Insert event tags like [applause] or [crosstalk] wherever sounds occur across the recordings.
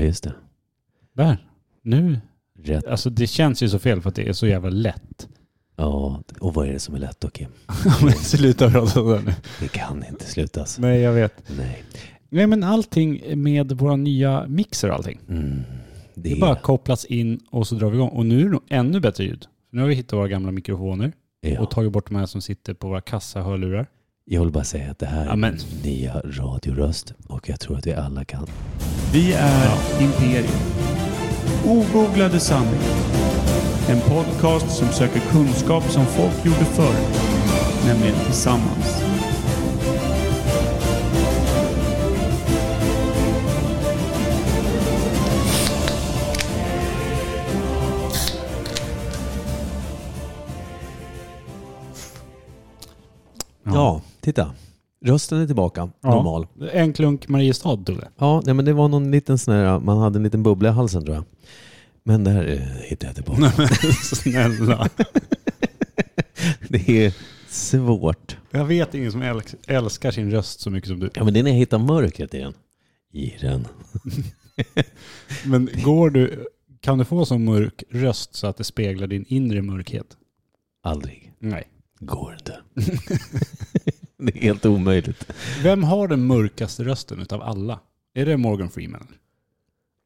Ja, just det. Där. Nu. Rätt. Alltså det känns ju så fel för att det är så jävla [laughs] lätt. Ja, och vad är det som är lätt då, Kim? Men Sluta prata om det nu. Det kan inte slutas. Nej, jag vet. Nej. Nej, men allting med våra nya mixer och allting. Mm. Det Det är... bara kopplas in och så drar vi igång. Och nu är det nog ännu bättre ljud. Nu har vi hittat våra gamla mikrofoner och ja. tagit bort de här som sitter på våra kassahörlurar. Jag vill bara säga att det här är Amen. min nya radioröst och jag tror att vi alla kan. Vi är Imperium. Ogooglade sanningar. En podcast som söker kunskap som folk gjorde förr. Nämligen tillsammans. Ja, titta. Rösten är tillbaka. Ja. Normal. En klunk Mariestad tog det. Ja, nej, men det var någon liten sån här, man hade en liten bubbla i halsen tror jag. Men där eh, hittade jag tillbaka. Nej men [laughs] snälla. [laughs] Det är svårt. Jag vet ingen som älsk- älskar sin röst så mycket som du. Ja, men det är när jag hittar mörkret i den. I den. Men går du, kan du få så mörk röst så att det speglar din inre mörkhet? Aldrig. Nej. Går inte. [laughs] det är helt omöjligt. Vem har den mörkaste rösten utav alla? Är det Morgan Freeman?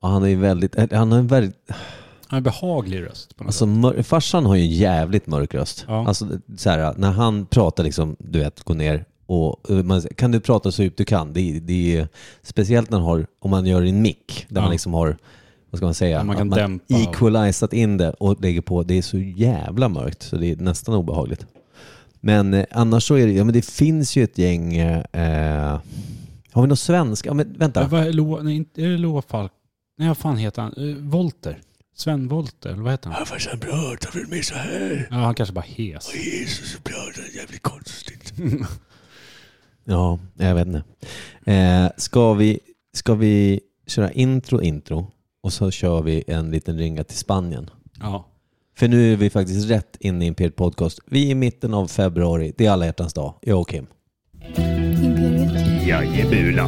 Ja, han är ju väldigt, eh, han har en väldigt, Han har en behaglig röst på något alltså mör, farsan har ju en jävligt mörk röst. Ja. Alltså så här, när han pratar liksom, du vet, går ner och eh, man, säger, kan du prata så djupt du kan? Det, är- det är speciellt när man har, om man gör en mick där Ja. man liksom har, vad ska man säga? Ja, man kan Att dämpa. equalizat in det och lägger på. Det är så jävla mörkt så det är nästan obehagligt. Men eh, annars så är det, ja men det finns ju ett gäng, eh, eh, har vi något svensk? Ja men sätt. vänta. Vad är, Loa, nej, inte- är det Loa Falk? Nej, vad fan heter han? Eh, Volter? Sven Volter, eller vad heter han? Farsan pratar för mig så här. Ja, han kanske bara hes. Jesus pratar jävligt konstigt. [laughs] ja, jag vet inte. Eh, ska, vi, ska vi köra intro, intro och så kör vi en liten ringa till Spanien? Ja. För nu är vi faktiskt rätt inne i Imperiet Podcast. Vi är i mitten av februari. Det är alla hjärtans dag. Jag och Kim. Imperiet. Var är brudarna?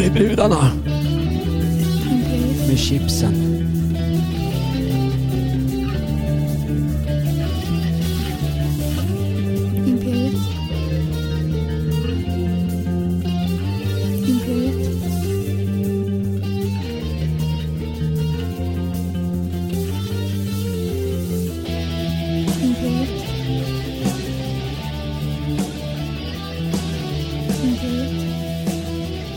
Imperiet. Med chipsen. Imperiet. Imperiet. Imperiet. Imperiet.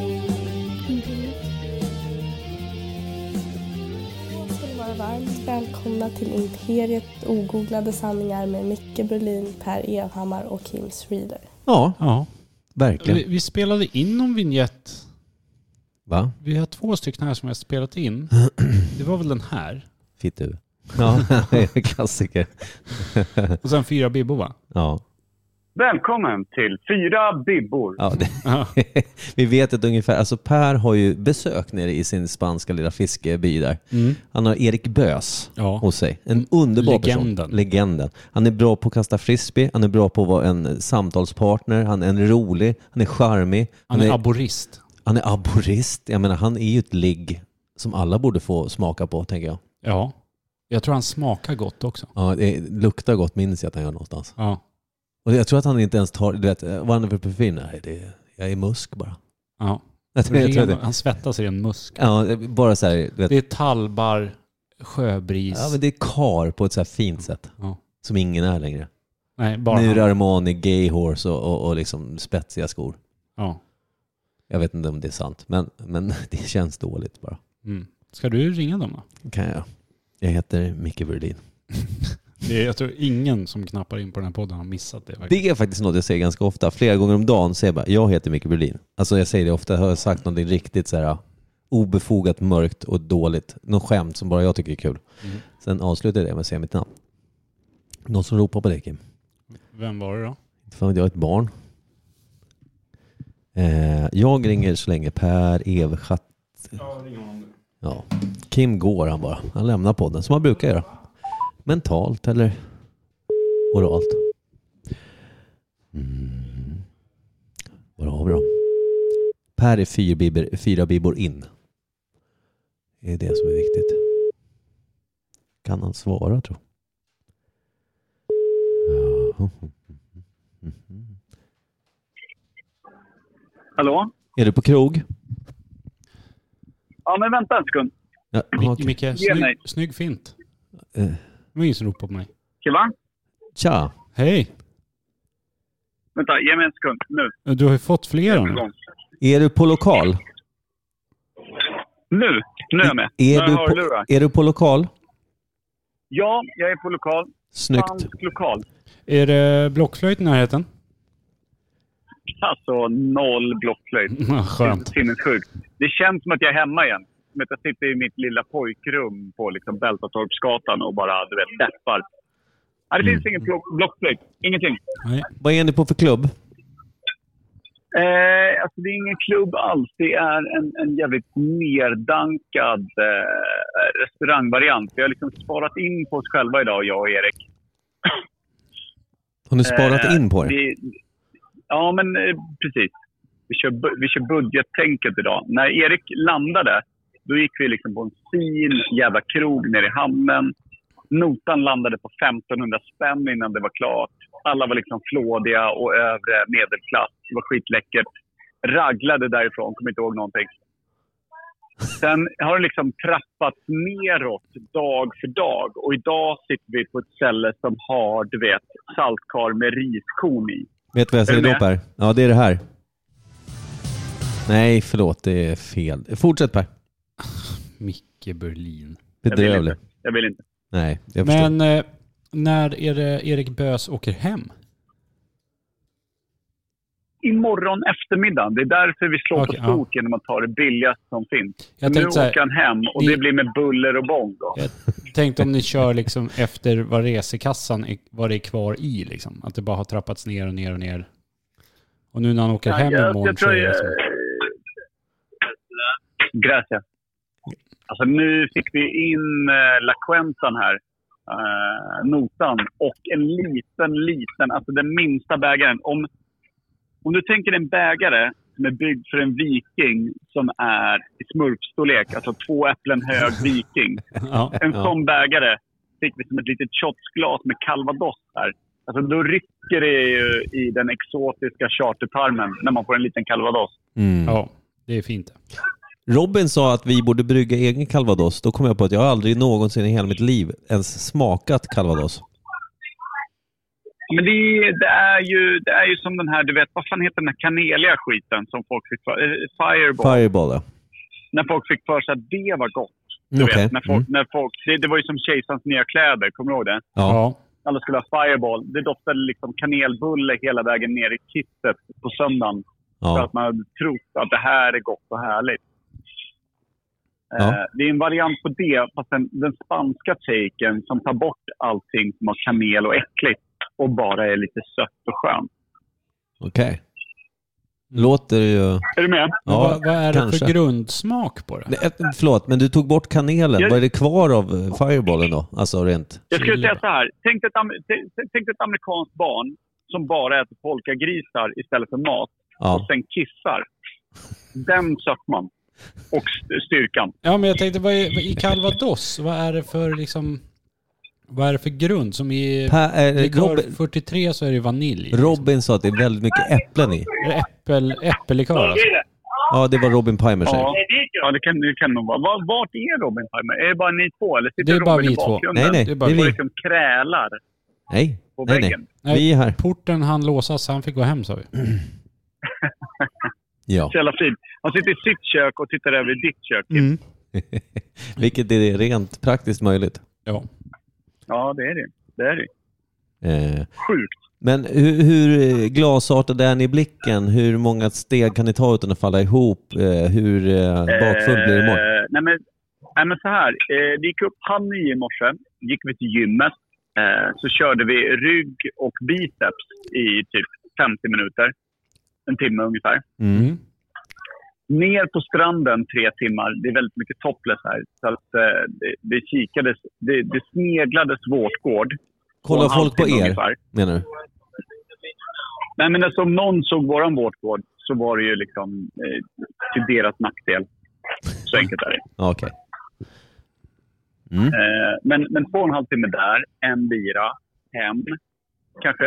Imperiet. ska ni vara varmt välkomna till Imperiet ogooglade sanningar med Micke Berlin, Per Evhammar och Kim Reader. Ja, Ja. Vi, verkligen. vi spelade in någon vignett. Va? Vi har två stycken här som jag spelat [clears throat] in. Det var väl den här. Fitt du. Ja, [laughs] klassiker. Och sen fyra bibbor va? Ja, Välkommen till Fyra Bibbor. ja det, Ja. [laughs] vi vet att ungefär, alltså Per har ju besök nere i sin spanska lilla fiskeby där. Mm. Han har Erik Bös ja. hos sig. En underbar Legenden. person. Legenden. Han är bra på att kasta frisbee, han är bra på att vara en eh, samtalspartner, han är en rolig, han är charmig, Han är aborist. han är aborist. Jag menar, han är ju ett ligg som alla borde få smaka på, tänker jag. Ja. Jag tror han smakar gott också. Ja, det luktar gott minns jag att han gör någonstans. Ja. Och jag tror att han inte ens tar, du vet, eh, vad han är för parfym? Nej, det är, jag är musk bara. [laughs] ja. Jag tror, jag tror Ren, det. han svettas i en musk. Ja, bara så här, du vet, Det är tallbar, sjöbris. Ja, men det är kar på ett så här fint sätt. Ja. Som ingen är längre. Nej, bara Nu är han. det Armani, gay horse och, och, och liksom spetsiga skor. Ja. Jag vet inte om det är sant, men, men [laughs] det känns dåligt bara. Mm. Ska du ringa dem då? Kan jag. Jag heter Micke Berlin. Det är, jag tror ingen som knappar in på den här podden har missat det. Verkligen. Det är faktiskt något jag säger ganska ofta. Flera gånger om dagen säger jag bara, jag heter Micke Berlin. Alltså jag säger det ofta, har jag sagt någonting riktigt så här ah, obefogat, mörkt och dåligt. Något skämt som bara jag tycker är kul. Mm. Sen avslutar jag det med att säga mitt namn. Någon som ropar på dig Kim? Vem var det då? Inte fan vet jag, ett barn. Eh, jag ringer så länge Per Everschatt. Ja. Kim går han bara. Han lämnar podden som han brukar göra. Mentalt eller oralt. Mm. Per är fyra bibor, fyra bibor in. Det är det som är viktigt. Kan han svara tro? Ja. Hallå? Är du på krog? Ja, men vänta en sekund. Ja, Mic- okej. Micke, Ge mig. snygg, snygg fint. Eh, Det var ingen som ropade på mig. Va? Tja, Hej! Vänta, ge mig en sekund. Nu. Mm. Du har ju fått flera nu. Igång. är du på lokal? Nu! Nu är jag med. Är nu du har jag på, lurar. är du på lokal? Ja, jag är på lokal. Snyggt. Fransk lokal. Är det blockflöjt i närheten? [laughs] Alltså, noll blockflöjt. Mm. Skönt. Sinnessjukt. Det känns som att jag är hemma igen. Som att jag sitter i mitt lilla pojkrum på liksom Bältatorpsgatan och bara, du vet, deppar. Ja, det Mm. finns ingen block- blockflöjt. Ingenting. Nej. Vad är ni på för klubb? Eh, alltså det är ingen klubb alls. Det är en, en jävligt nerdankad eh, restaurangvariant. Vi har liksom sparat in på oss själva idag, jag och Erik. Har ni sparat Eh, in på er? Vi, ja, men eh, precis. Vi kör, bu- vi kör budgettänket idag. När Erik landade, då gick vi liksom på en fin jävla krog nere i hamnen. Notan landade på 1500 spänn innan det var klart. Alla var liksom flådiga och övre medelklass. Det var skitläckert. Raglade därifrån, kommer inte ihåg någonting. Sen har det liksom trappats neråt dag för dag. Och idag sitter vi på ett ställe som har, du vet, saltkar med riskorn i. Vet du vad jag Är säger du då med? Per? Ja, det är det här. Nej, förlåt. Det är fel. Fortsätt Per. Micke Berlin. Jag vill Bedrövlig. inte. Jag vill inte. Nej, jag förstår. Men eh, när är det Erik Bös åker hem? Imorgon eftermiddag. Det är därför vi slår Okej, på stort genom att ta det billigaste som finns. Jag nu tänkte så här, åker han hem och ni- det blir med buller och bång då. Jag tänkte om ni kör liksom efter vad resekassan är, vad det är kvar i liksom. Att det bara har trappats ner och ner och ner. Och nu när han åker Ja, hem jag, imorgon jag så tror är jag... det liksom- så. Gracias. Alltså nu fick vi in eh, La Quentan här. Eh, notan. Och en liten, liten, alltså den minsta bägaren. Om, om du tänker en bägare som är byggd för en viking som är i smurfstorlek, alltså två äpplen hög viking. Ja. En Ja. sån bägare fick vi som ett litet shotsglas med calvados där. Alltså då rycker det ju i den exotiska chartertarmen när man får en liten calvados. Mm. ja, det är fint. Robin sa att vi borde brygga egen calvados. Då kom jag på att jag aldrig någonsin i hela mitt liv ens smakat calvados. Men det, det, är ju, det är ju som den här, du vet, vad fan heter den här kaneliga skiten som folk fick för, eh, Fireball. Fireball, ja. När folk fick för sig att det var gott. Du Mm, Okej. vet, när folk, Mm. när folk, det, det var ju som kejsarens nya kläder, kommer du ihåg det? Ja. Ja. Alla skulle ha Fireball. Det doftade liksom kanelbulle hela vägen ner i kittet på söndagen. För ja. att man hade trott att det här är gott och härligt. Ja. Eh, det är en variant på det, fast den, den spanska taken som tar bort allting som har kanel och äckligt och bara är lite sött och skönt. Okej. Låter ju... Är du med? Men Ja, vad, vad är det kanske. för grundsmak på det? Nej, eh, Förlåt, men du tog bort kanelen. Jag- Vad är det kvar av eh, fireballen då? Alltså rent... Jag skulle Chili. säga så här. Tänk dig ett, am- t- t- tänk dig ett amerikanskt barn som bara äter polkagrisar istället för mat och Ja. sen kissar. Den sötman och st- styrkan. Ja, men jag tänkte, vad är, vad- i calvados, vad är det för liksom... Vad är det för grund? Som i Per, eh, likör Robin, 43 så är det ju vanilj. Robin sa att det är väldigt mycket äpplen i. Är det Äppel, äppellikör alltså. Ja, det var Robin Pimer säger. Ja, ja det, kan, det kan nog vara. Var, vart är Robin Palmer? Är det bara ni två? Eller sitter Det är bara Robin vi i två. bakgrunden? Nej, nej. Det Det är bara- är Och vi. liksom krälar Nej, på nej, nej. väggen. Nej. Vi är här. Porten han låsas, han fick gå hem sa vi. Ja. Så jävla fint. Han sitter i sitt kök och tittar över i ditt kök. [laughs] Vilket är rent praktiskt möjligt. Ja. Ja, det är det. Det är det. Eh, Sjukt. Men hur, hur eh, glasartad är ni i blicken? Hur många steg kan ni ta utan att falla ihop? Eh, Hur eh, bakfull blir det imorgon? Eh, nej, men, nej, men så här. Eh, vi gick upp halv nio i morse, gick vi till gymmet. Eh, så körde vi rygg och biceps i typ 50 minuter. En timme ungefär. Mm. Ner på stranden tre timmar. Det är väldigt mycket topless här. Så att, eh, det, det kikades, det, det sneglades vårtgård. Kollar en folk på halvtimme er, ungefär. menar du? Nej, men alltså, om någon såg våran vårtgård så så var det ju liksom eh, till deras nackdel. Så enkelt är det. Ja, Okej. Mm. Eh, men, men två och en halv timme där, en bira, hem. Kanske,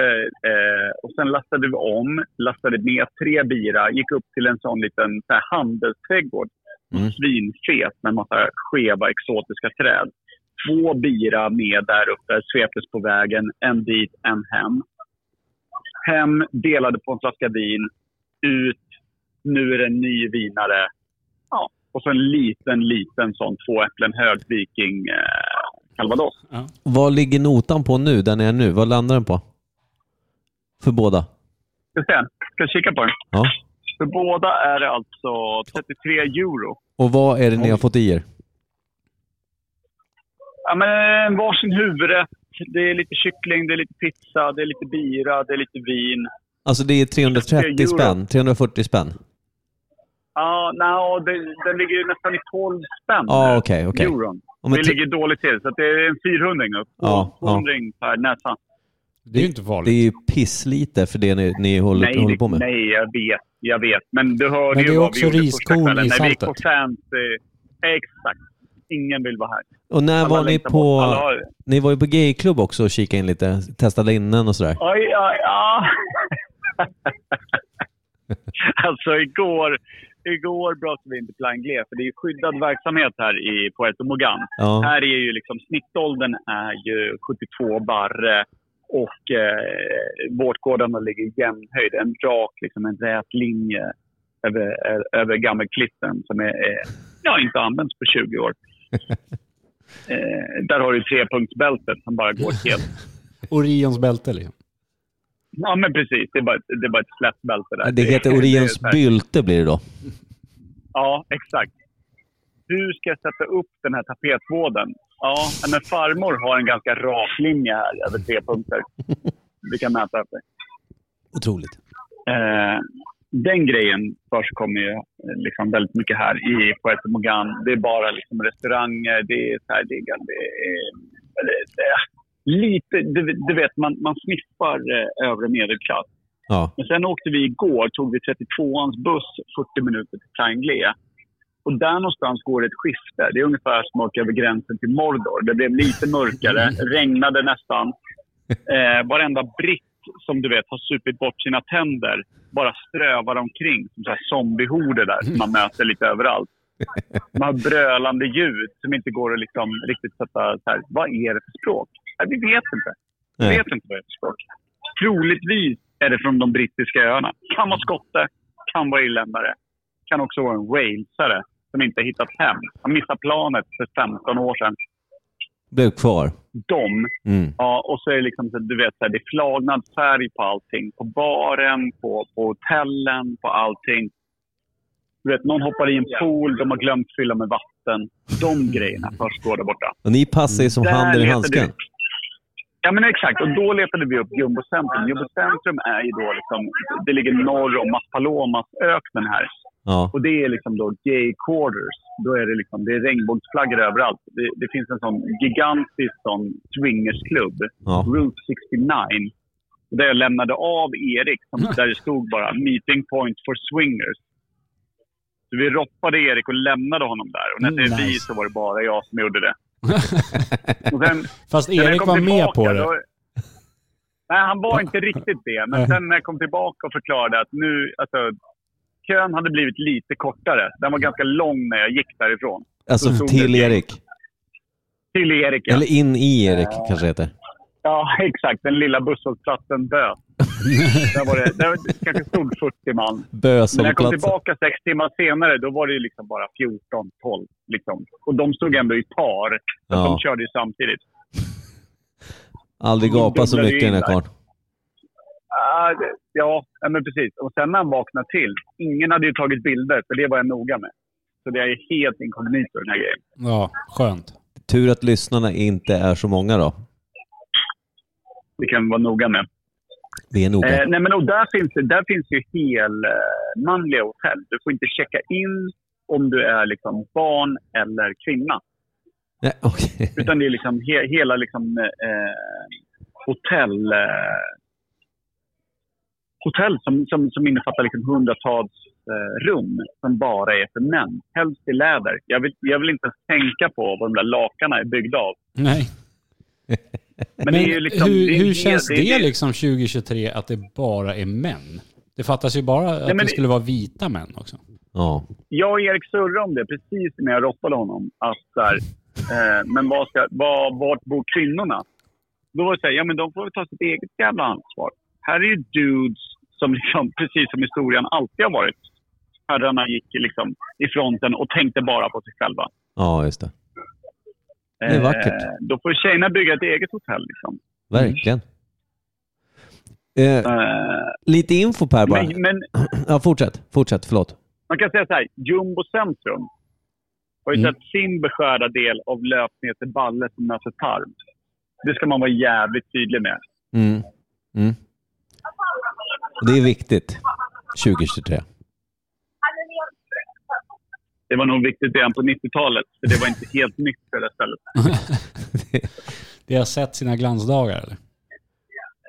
eh, och sen lastade vi om, lastade med tre bira, gick upp till en sån liten så här, handelsträdgård. Mm. Svinfet med en massa skeva exotiska träd. Två bira med där uppe, sveptes på vägen, en dit, en hem. Hem, delade på en flaska vin, ut, nu är det en ny vinare. Ja, och så en liten, liten sån två äpplen hög viking eh, calvados. Vad ligger notan på nu, där ni är nu? Vad landar den på? För båda? Ska se, ska kika på den. Ja. För båda är det alltså 33 euro. Och vad är det ni har fått i er? Ja, men eh, varsin huvudrätt. Det är lite kyckling, det är lite pizza, det är lite bira, det är lite vin. Alltså det är 330 euro. spänn, 340 spänn. Ja, no, det, den ligger ju nästan i 12 spänn. Ja, okej, okej. Euron. Ja, men det t- ligger dåligt till, så att det är en 400 nu. Ja, ja. 200 per näsa. Det är ju inte farligt. Det är ju pisslite för det ni, ni håller, Nej, håller på med. nej, jag vet. Jag vet. Men du hörde Men det ju är vad vi också gjorde riskorn första kvällen. i När vi gick på saltet. fancy. Exakt. Ingen vill vara här. Och när Alla var ni längtar på... bort. Alla har- Ni var ju på gayklubb också och kikade in lite, testade innan och sådär. Oj, oj, oj. [laughs] alltså igår, igår bröt vi in till Plan G, för det är ju skyddad verksamhet här i Puerto Mogan. Ja. Här är ju liksom snittåldern är ju 72 barre och eh, vårdgårdarna ligger i jämnhöjd. En rak, liksom en rät linje över, ö- över gammelklitten som är, eh, ja, inte använts på 20 [laughs] år. Eh, där har du trepunktsbältet som bara går helt [laughs] Orions bälte liksom. Ja, men precis. Det är bara, det är bara ett slätt bälte där. Det heter är- Orions det är så här- bylte blir det då. Ja, exakt. Du ska sätta upp den här tapetvården. Ja, men farmor har en ganska rak linje här över tre punkter. Vi kan mäta efter. Otroligt. Eh, den grejen förekommer ju eh, liksom väldigt mycket här i Puerto Mogan. Det är bara liksom restauranger, det är särliggande. Det är, det är, det är lite, du, du vet, man, man sniffar eh, övre medelklass. Ja. Men sen åkte vi igår, tog vi 32ans buss 40 minuter till Tanglé. Och där någonstans går det ett skifte. Det är ungefär som att åka över gränsen till Mordor. Det blev lite mörkare, regnade nästan. Eh, varenda britt som du vet har supit bort sina tänder bara strövar omkring som så här zombiehorder där som man möter lite överallt. Man har brölande ljud som inte går att liksom riktigt sätta... Så här, vad är det för språk? Nej, vi vet inte. Jag Nej. vet inte vad det är för språk. Troligtvis är det från de brittiska öarna. Kan vara skotte, kan vara irländare. Kan också vara en walesare som inte hittat hem. Han missade planet för 15 år sedan. Blev kvar. De Mm. Ja, och så är det liksom, så, du vet, så här, det är flagnad färg på allting. På baren, på, på hotellen, på allting. Du vet, någon hoppar i en pool, de har glömt fylla med vatten. De grejerna försiggår där borta. Och ni passar ju som Där handen i letar handsken. du. Ja, men exakt. Och då letade vi upp Jumbo centrum. Jumbo centrum är ju då liksom, det ligger norr om Maspalomas-öknen här. Ja. Och det är liksom då gay quarters. Då är det liksom, det är regnbågsflaggor överallt. Det, det finns en sån gigantisk sån swingersklubb, Ja. Route 69. Där jag lämnade av Erik, [laughs] som, där det stod bara “Meeting point for swingers”. Så vi roppade Erik och lämnade honom där. Och när det Mm, är vi Nice. så var det bara jag som gjorde [laughs] det. Och sen, Fast sen när jag Erik kom var med tillbaka, på det. då- Nej, han var inte riktigt det. Men sen när jag kom tillbaka och förklarade att nu, alltså, kön hade blivit lite kortare. Den var ganska lång när jag gick därifrån. Alltså Mm. till Erik. Till Erik, ja. Eller in i Erik kanske det heter. ja [laughs] exakt. Den lilla busshållplatsen [laughs] Bö. där var det, där var det kanske stod 40 man. Men när jag kom Böshållplatsen. tillbaka sex timmar senare, då var det ju liksom bara 14, 12. Liksom. Och de stod ändå i par. Så Ja. De körde ju samtidigt. Aldrig gapat så Dubblade mycket den in här där. karln. Ah, det- Ja, ja, men precis. Och sen när han vaknade till. Ingen hade ju tagit bilder, för det var jag noga med. Så det är helt inkognito den här grejen. Ja, skönt. Tur att lyssnarna inte är så många då. Det kan vi vara noga med. Vi är Eh, noga. nej, men och där finns det där finns ju helmanliga hotell. Du får inte checka in om du är liksom barn eller kvinna. Nej, [laughs] okej. Utan det är liksom he, hela liksom, eh, hotell... Eh, hotell som, som, som innefattar liksom hundratals eh, rum som bara är för män. Helst i läder. Jag vill, jag vill inte ens tänka på vad de där lakarna är byggda av. Nej. Men, Men det är ju liksom, hur, det är- hur känns det, är- är- liksom 2023 att det bara är män? Det fattas ju bara att men det det- skulle vara vita män också. Ja. jag och Erik surrade om det precis när jag roffade honom. Att så här, eh, men vad ska, vad, vart bor kvinnorna? Då var det så här, ja men de får väl ta sitt eget jävla ansvar. Här är ju dudes som liksom, [laughs] precis som historien alltid har varit. Herrarna gick liksom i fronten och tänkte bara på sig själva. ja, just det. Det är vackert. Eh, då får tjejerna bygga ett eget hotell liksom. Verkligen. Eh, Eh, lite info Per bara. men, men Ja, fortsätt. Fortsätt, förlåt. Man kan säga så här, Jumbo centrum har ju sett sin beskärda del av löpningen till balle som möter tarm. Det ska man vara jävligt tydlig med. Mm. Mm. Det är viktigt. 2023. Det var nog viktigt redan på 90-talet, för det var inte helt nytt för det där stället. Det har sett sina glansdagar eller?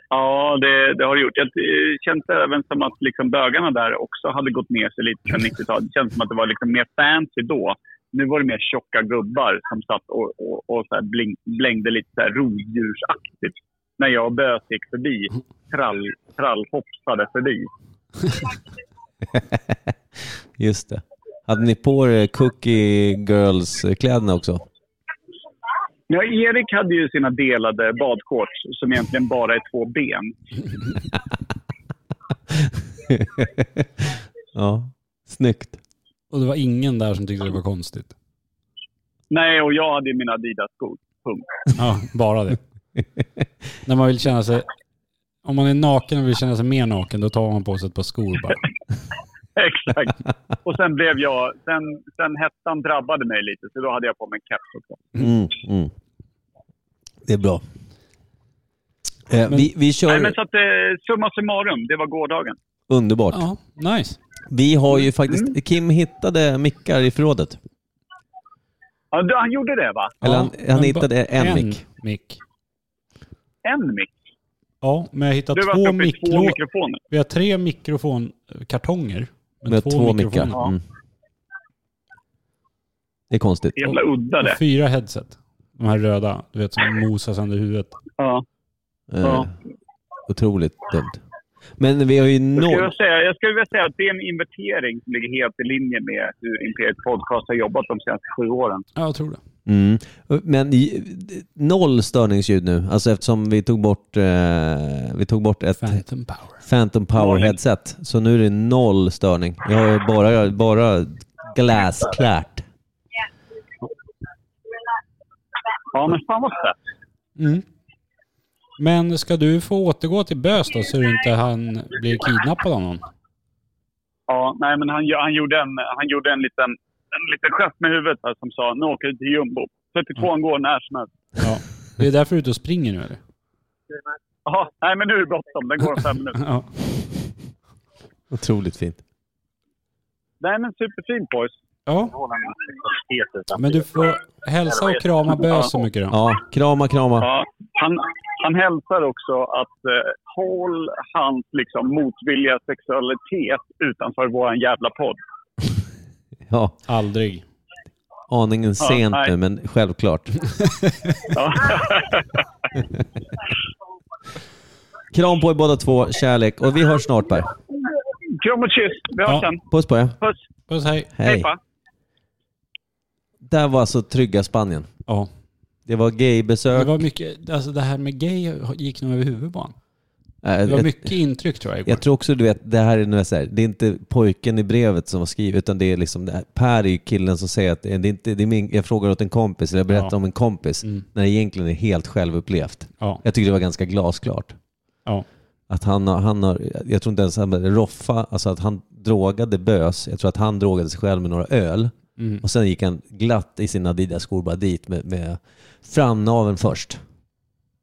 Ja, det, det har det gjort. Jag eh, känns även som att liksom bögarna där också hade gått ner sig lite från 90-talet. Det känns som att det var liksom mer fancy då. Nu var det mer tjocka gubbar som satt och, och, och så här bling, blängde lite så här rovdjursaktigt. När jag och Bös gick förbi, trall, trallhopsade förbi. Just det. Hade ni på er Cookie Girls-kläderna också? [laughs] Ja, Erik hade ju sina delade badshorts som egentligen bara är två ben. ja, snyggt. Och det var ingen där som tyckte det var konstigt. Nej, och jag hade ju mina Adidas-skor. Punkt. Ja, bara det. När man vill känna sig... Om man är naken och vill känna sig mer naken, då tar man på sig ett par skor bara. [laughs] Exakt. Och sen blev jag... Sen, sen hettan drabbade mig lite, så då hade jag på mig en keps också. Mm, mm. Det är bra. Eh, vi, vi kör Nej, men så att eh, summa summarum, det var gårdagen. underbart. Ja, nice. Vi har ju faktiskt... Kim hittade mickar i förrådet. Ja, du- han gjorde det va? Eller ja, han- han men hittade ba- en mick. mick. En mick. Ja, men jag hittade Du var två, uppe i två mikro... mikrofoner. Vi har tre mikrofonkartonger. men Med två, mickar. mikrofoner. Mm. Det är konstigt. Jävla udda det. Och fyra headset. De här röda, du vet som mosar sönder huvudet. Ja. Eh, otroligt dumt. Men vi har ju Jag, skulle vilja noll... säga, jag skulle vilja säga att det är en inventering som ligger helt i linje med hur Imperiet Podcast har jobbat de senaste sju åren. Ja, jag tror det. Mm. Men i- noll störningsljud nu, alltså eftersom vi tog bort, eh, vi tog bort ett Phantom, Phantom power. Power Noll. headset. Så nu är det noll störning. Jag har ju bara, bara glasklärt. Ja, men fan vad fett. Mm. Men ska du få återgå till Bös då, så du inte han blir kidnappad av någon? Ja, nej, men han, han, gjorde en, han gjorde en liten, en liten gest med huvudet här som sa nu åker vi till jumbo. 32 Mm. går när som helst. Ja. Det är därför du är ute och springer nu eller? Ja, nej, men nu är det bråttom. Den går om fem minuter. Ja. Otroligt fint. Nej, men superfint boys. ja. Men du får hälsa och krama Bös så mycket då. Ja, krama, krama. Ja, han, han hälsar också att eh, håll hans liksom, motvilliga sexualitet utanför vår jävla podd. Ja, Aldrig. aningen sent nej. nu, men självklart. Ja. [laughs] Kram på er båda två, kärlek. Och vi hörs snart Per. Kram och kyss. Vi hörs Ja. sen. Puss på er. Puss. Puss hej. Hej. Hej. Där var alltså trygga Spanien. Ja. Det var Det gaybesök. var mycket, alltså det här med gay gick nog över huvudet på honom. Eh, Det var ett- mycket intryck tror jag igår. Jag tror också du vet, det här är, nu så här, det är inte pojken i brevet som har skrivit utan det är liksom, det här, Per är ju killen som säger att det är inte, det är min, jag frågar åt en kompis eller jag berättar Ja. Mm. om en kompis när det egentligen är helt självupplevt. Ja. Jag tycker det var ganska glasklart. Ja. Att han har, han har, jag tror inte ens han började roffa, alltså att han drogade bös. Jag tror att han drogade sig själv med några öl. Mm. Och sen gick han glatt i sina Adidas-skor bara dit med, med framnaven först.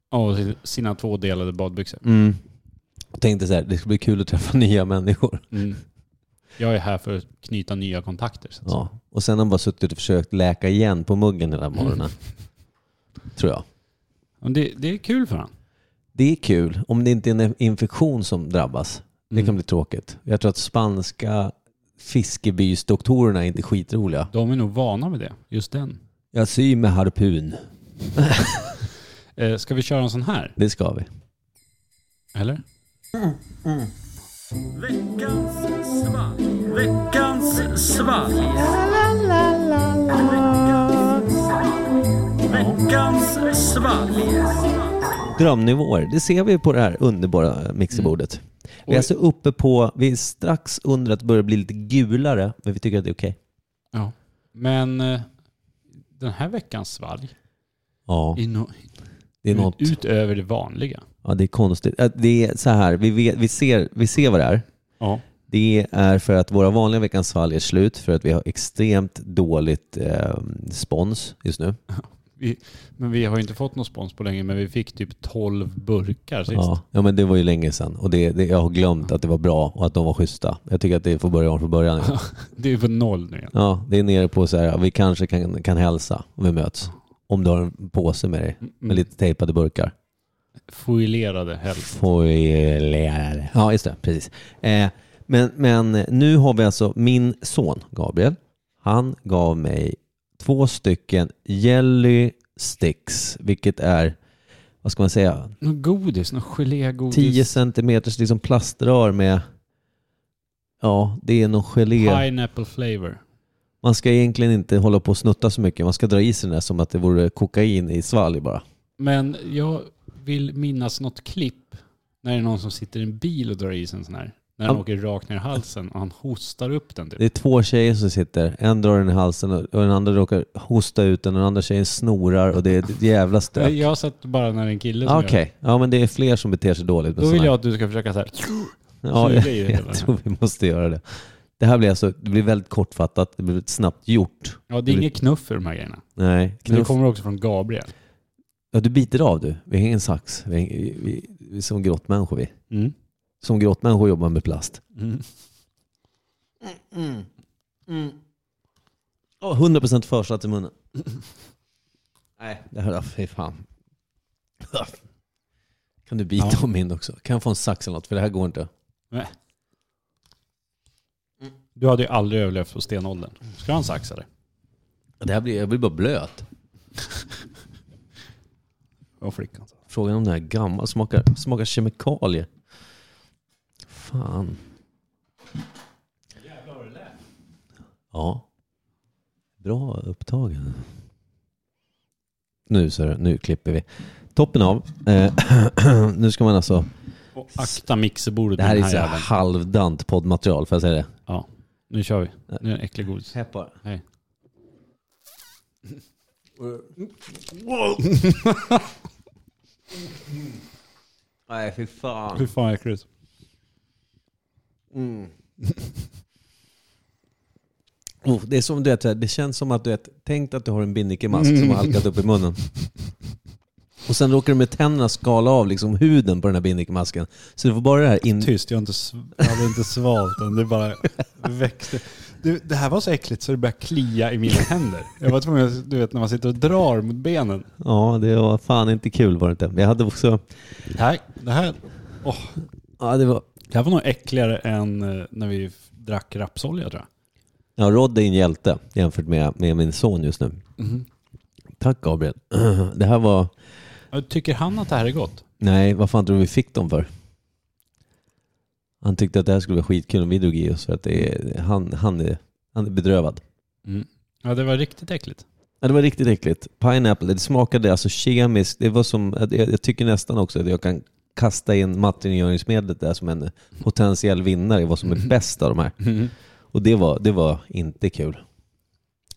Och sina två delade badbyxor. Och tänkte så här, det ska bli kul att träffa [laughs] nya människor. Mm. Jag är här för att knyta nya kontakter. Så att säga. Ja, och sen har han bara suttit och försökt läka igen på muggen hela morgonen. Tror jag. Men det, det är kul för honom. Det är kul om det inte är en infektion som drabbas. Det kan bli tråkigt. Jag tror att spanska fiskebysdoktorerna är inte skitroliga. De är nog vana med det, just den. Jag syr med harpun. Eh, ska vi köra en sån här? Det ska vi. Eller? Drömnivåer, det ser vi på det här underbara mixerbordet. Vi är Oj. alltså uppe på, vi är strax under att börja bli lite gulare, men vi tycker att det är okej. Ja. Men eh, den här veckans svalg Ja, är no- det är något. ut- utöver det vanliga. Ja, det är konstigt. Äh, Det är så här, vi, vet, vi, ser, vi ser vad det är. Ja. Det är för att våra vanliga Veckans svalg är slut för att vi har extremt dåligt eh, spons just nu. Vi, men vi har ju inte fått någon spons på länge, men vi fick typ 12 burkar sist. Ja, ja, men det var ju länge sedan och det, det, jag har glömt att det var bra och att de var schyssta. Jag tycker att det får börja om från början. Det är på noll nu igen. Ja, det är nere på så här, vi kanske kan, kan hälsa om vi möts. Om du har en påse med dig med lite tejpade burkar. Mm. Foilerade helst. Foilare. Ja, just det. Precis. Eh, men, men nu har vi alltså min son Gabriel. Han gav mig två stycken Jelly Sticks, vilket är, vad ska man säga, Någon godis, någon gelégodis. 10 centimeters liksom plaströr med, ja, det är någon gelé. Pineapple flavor. Man ska egentligen inte hålla på och snutta så mycket. Man ska dra i sig den där som att det vore kokain i svalg bara. Men jag vill minnas något klipp när det är någon som sitter i en bil och drar i sig en sån här. När den Ja. åker rakt ner i halsen och han hostar upp den. Det Typ. är två tjejer som sitter. En drar den i halsen och och den andra råkar hosta ut den. Den andra tjejen snorar och det är ett jävla stök. Jag har sett bara när det är en kille som Okej, gör det. ja men det är fler som beter sig dåligt. med Då vill såna jag här. att du ska försöka så här. ja, suga jag, i det hela. jag tror vi måste göra det. Det här blir alltså, det blir väldigt kortfattat. Det blir snabbt gjort. Ja, det är inget knuff i de här grejerna. Nej, Men det knuff. kommer också från Gabriel. Ja, du biter av du. Vi har ingen sax. Vi, vi, vi, vi är som grottmänniskor vi. Mm. Som grottmänniskor jobbar med plast. Mm. Ja, 100% försatt i munnen. [laughs] Nej, det här, fy [laughs] fan. Kan du bita om min också? Kan jag få en sax eller något? För det här går inte. Nej. Äh. Du hade ju aldrig överlevt på stenåldern. Ska han saxa dig? Det här blir, jag blir bara blöt. Och flickan. Frågan om den här gammal smakar, smakar kemikalier. Fan. Ja. Bra upptagen. Nu så nu klipper vi. Toppen av. Eh, [clears throat] nu ska man alltså... Och akta mixerbordet Det här är med så den här här jäveln. halvdant poddmaterial, får jag säga det? Ja, nu kör vi. Nu är det en äcklig Äh. godis. Peppar. Hej. [laughs] Nej, fy fan. Hur fan äckligt. Oh, det är som du vet, så här, det känns som att du vet, tänk att du har en binnikemask som har halkat upp i munnen. Och sen råkar du med tänderna skala av liksom huden på den här binnikemasken. Så du får bara det här in... Tyst, jag, har inte, sv- jag hade inte svalt den. Det bara växte. Du, det här var så äckligt så det började klia i mina händer. Jag var tvungen, att- du vet när man sitter och drar mot benen. Ja, det var fan inte kul var det inte. Men Jag hade också... Det här, det här, åh. Ja, det var... det här var nog äckligare än eh, när vi f- drack rapsolja tror jag. Ja, Rod är en hjälte jämfört med, med min son just nu. Tack Gabriel. [clears throat] Det här var... Ja, Tycker han att det här är gott? Nej, vad fan tror du vi fick dem för? Han tyckte att det här skulle vara skitkul om vi drog i oss för att det är, han, han, är, han är bedrövad. Ja, det var riktigt äckligt. Ja, det var riktigt äckligt. Pineapple, det smakade alltså kemiskt. Det var som, jag, jag tycker nästan också att jag kan kasta in mattrengöringsmedlet där som en potentiell vinnare i vad Mm. som är bäst av de här. Och det var, det var inte kul.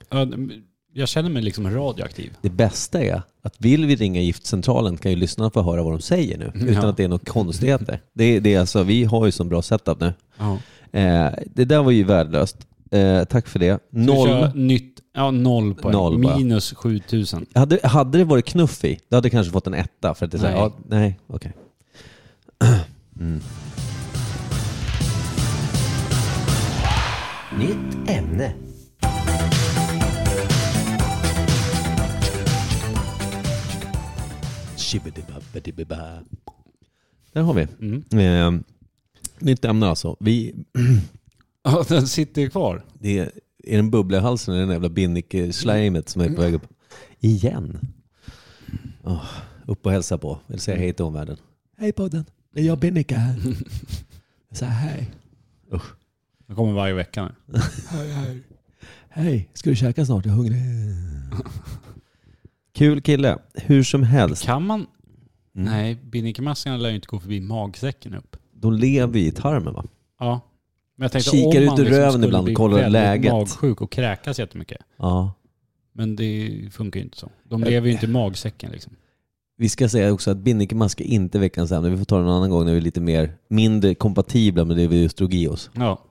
Ja, det- Jag känner mig liksom radioaktiv. Det bästa är att vill vi ringa giftcentralen kan ju lyssnarna få höra vad de säger nu utan Mm. Ja. att det är något konstigheter. Det, är- det är alltså, vi har ju sån bra setup nu. Ja. Eh, det där var ju värdelöst. Eh, tack för det. Noll. Noll. nytt, ja, noll poäng. Noll bara. Minus 7000. Hade, hade det varit knuff i, då hade jag kanske fått en etta. För att det är så här, Nej. ja, nej, okej. Nytt ämne. Där har vi. Mm. Ehm, Nytt ämne alltså. Vi, Ja, den sitter ju kvar. det är, är den bubbla i halsen eller den jävla binnik-slimet som är på väg upp? Igen. Åh, upp och hälsa på. Vill säga hej till omvärlden. Hej podden. Det är jag Binnika här. Så hej. Den kommer varje vecka nu. Hej, ska du käka snart? Jag är hungrig. Kul kille. Hur som helst. Kan man? Mm. Nej, binnikmaskarna lär ju inte gå förbi magsäcken upp. De lever i tarmen va? Ja. Men jag tänkte Kikar om ut man ur liksom röven skulle ibland och bli kollar väldigt läget. magsjuk och kräkas jättemycket. Ja. Men det funkar ju inte så. De lever ju inte i magsäcken liksom. Vi ska säga också att binnikemask är inte veckans ämne. Vi får ta det en annan gång när vi är lite mer, mindre kompatibla med det vi just drog i oss. Ja.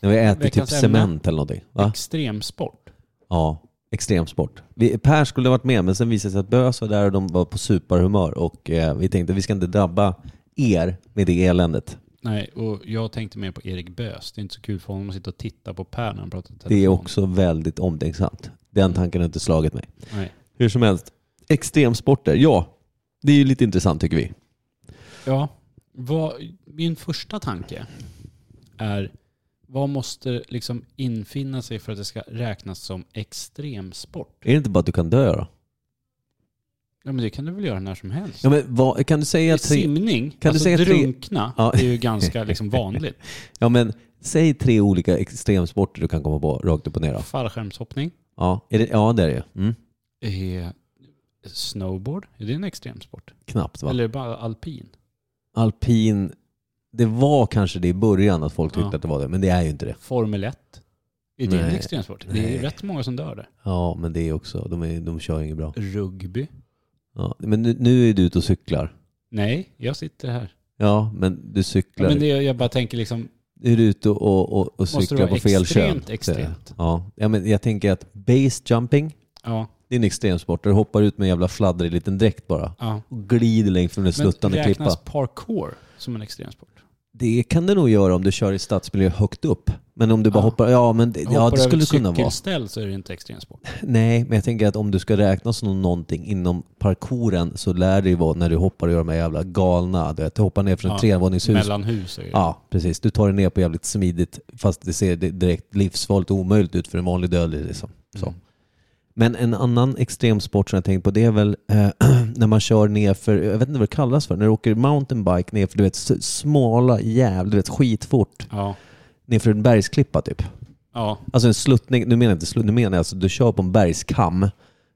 När vi äter typ Veckans ämne. cement eller någonting. Va? Extremsport. Ja, extremsport. Vi, per skulle ha varit med men sen visade det sig att Bös var där och de var på superhumör och eh, vi tänkte vi ska inte drabba er med det eländet. Nej, och jag tänkte mer på Erik Bös. Det är inte så kul för honom att sitta och titta på Per när han pratar i telefon. Det är också väldigt omtänksamt. Den tanken har inte slagit mig. Nej. Hur som helst, extremsporter, ja. Det är ju lite intressant tycker vi. Ja, vad, min första tanke är vad måste liksom infinna sig för att det ska räknas som extremsport? Är det inte bara att du kan dö då? Ja, men det kan du väl göra när som helst? Ja, men vad, kan du säga tre, Simning, du alltså säga tre- drunkna, Ja. är [laughs] ju ganska liksom vanligt. ja, men, säg tre olika extremsporter du kan komma på rakt upp och ner då. Fallskärmshoppning, Ja, är det, ja det är det ju. mm. är snowboard, är det en extremsport? Knappt va? Eller är det bara alpin? Alpin, det var kanske det i början att folk tyckte Ja. att det var det, men det är ju inte det. Formel 1, är det en Nej. extremsport? Det Nej. är rätt många som dör där. Ja, men det är också, de, är, de kör ju inget bra. Rugby? Ja, men nu, nu är du ute och cyklar. Nej, jag sitter här. Ja, men du Ja, cyklar. men det, jag bara tänker liksom, Är du ute och, och, och Måste det cyklar vara på fel kön? extremt, extremt? Ja. ja, men jag tänker att base jumping, ja, det är en extremsport där du hoppar ut med en jävla fladdrig liten dräkt bara. ja. Och glider längs från en Men sluttande klippa. räknas parkour som en extremsport? Det kan det nog göra om du kör i stadsmiljö högt upp. Men om du bara Ja. hoppar, ja men det, ja, Hoppar det över skulle ett kunna vara. cykelställ så är det inte extremsport. Nej, men jag tänker att om du ska räkna som någonting inom parkouren så lär det ju vara när du hoppar och gör de här jävla galna, du vet, du hoppar ner från ett Ja, trevåningshus. Mellan hus är det. Ja, precis. Du tar dig ner på jävligt smidigt fast det ser di- direkt livsfarligt och omöjligt ut för en vanlig dödlig. Liksom. Mm. Så. Men en annan extremsport som jag tänkt på det är väl eh, [clears throat] när man kör ner för, jag vet inte vad det kallas för, när du åker mountainbike ner för du vet s- smala jävla, du vet skitfort Ja. ner för en bergsklippa typ. ja. Alltså en sluttning, nu menar jag inte slutt, nu menar jag alltså du kör på en bergskam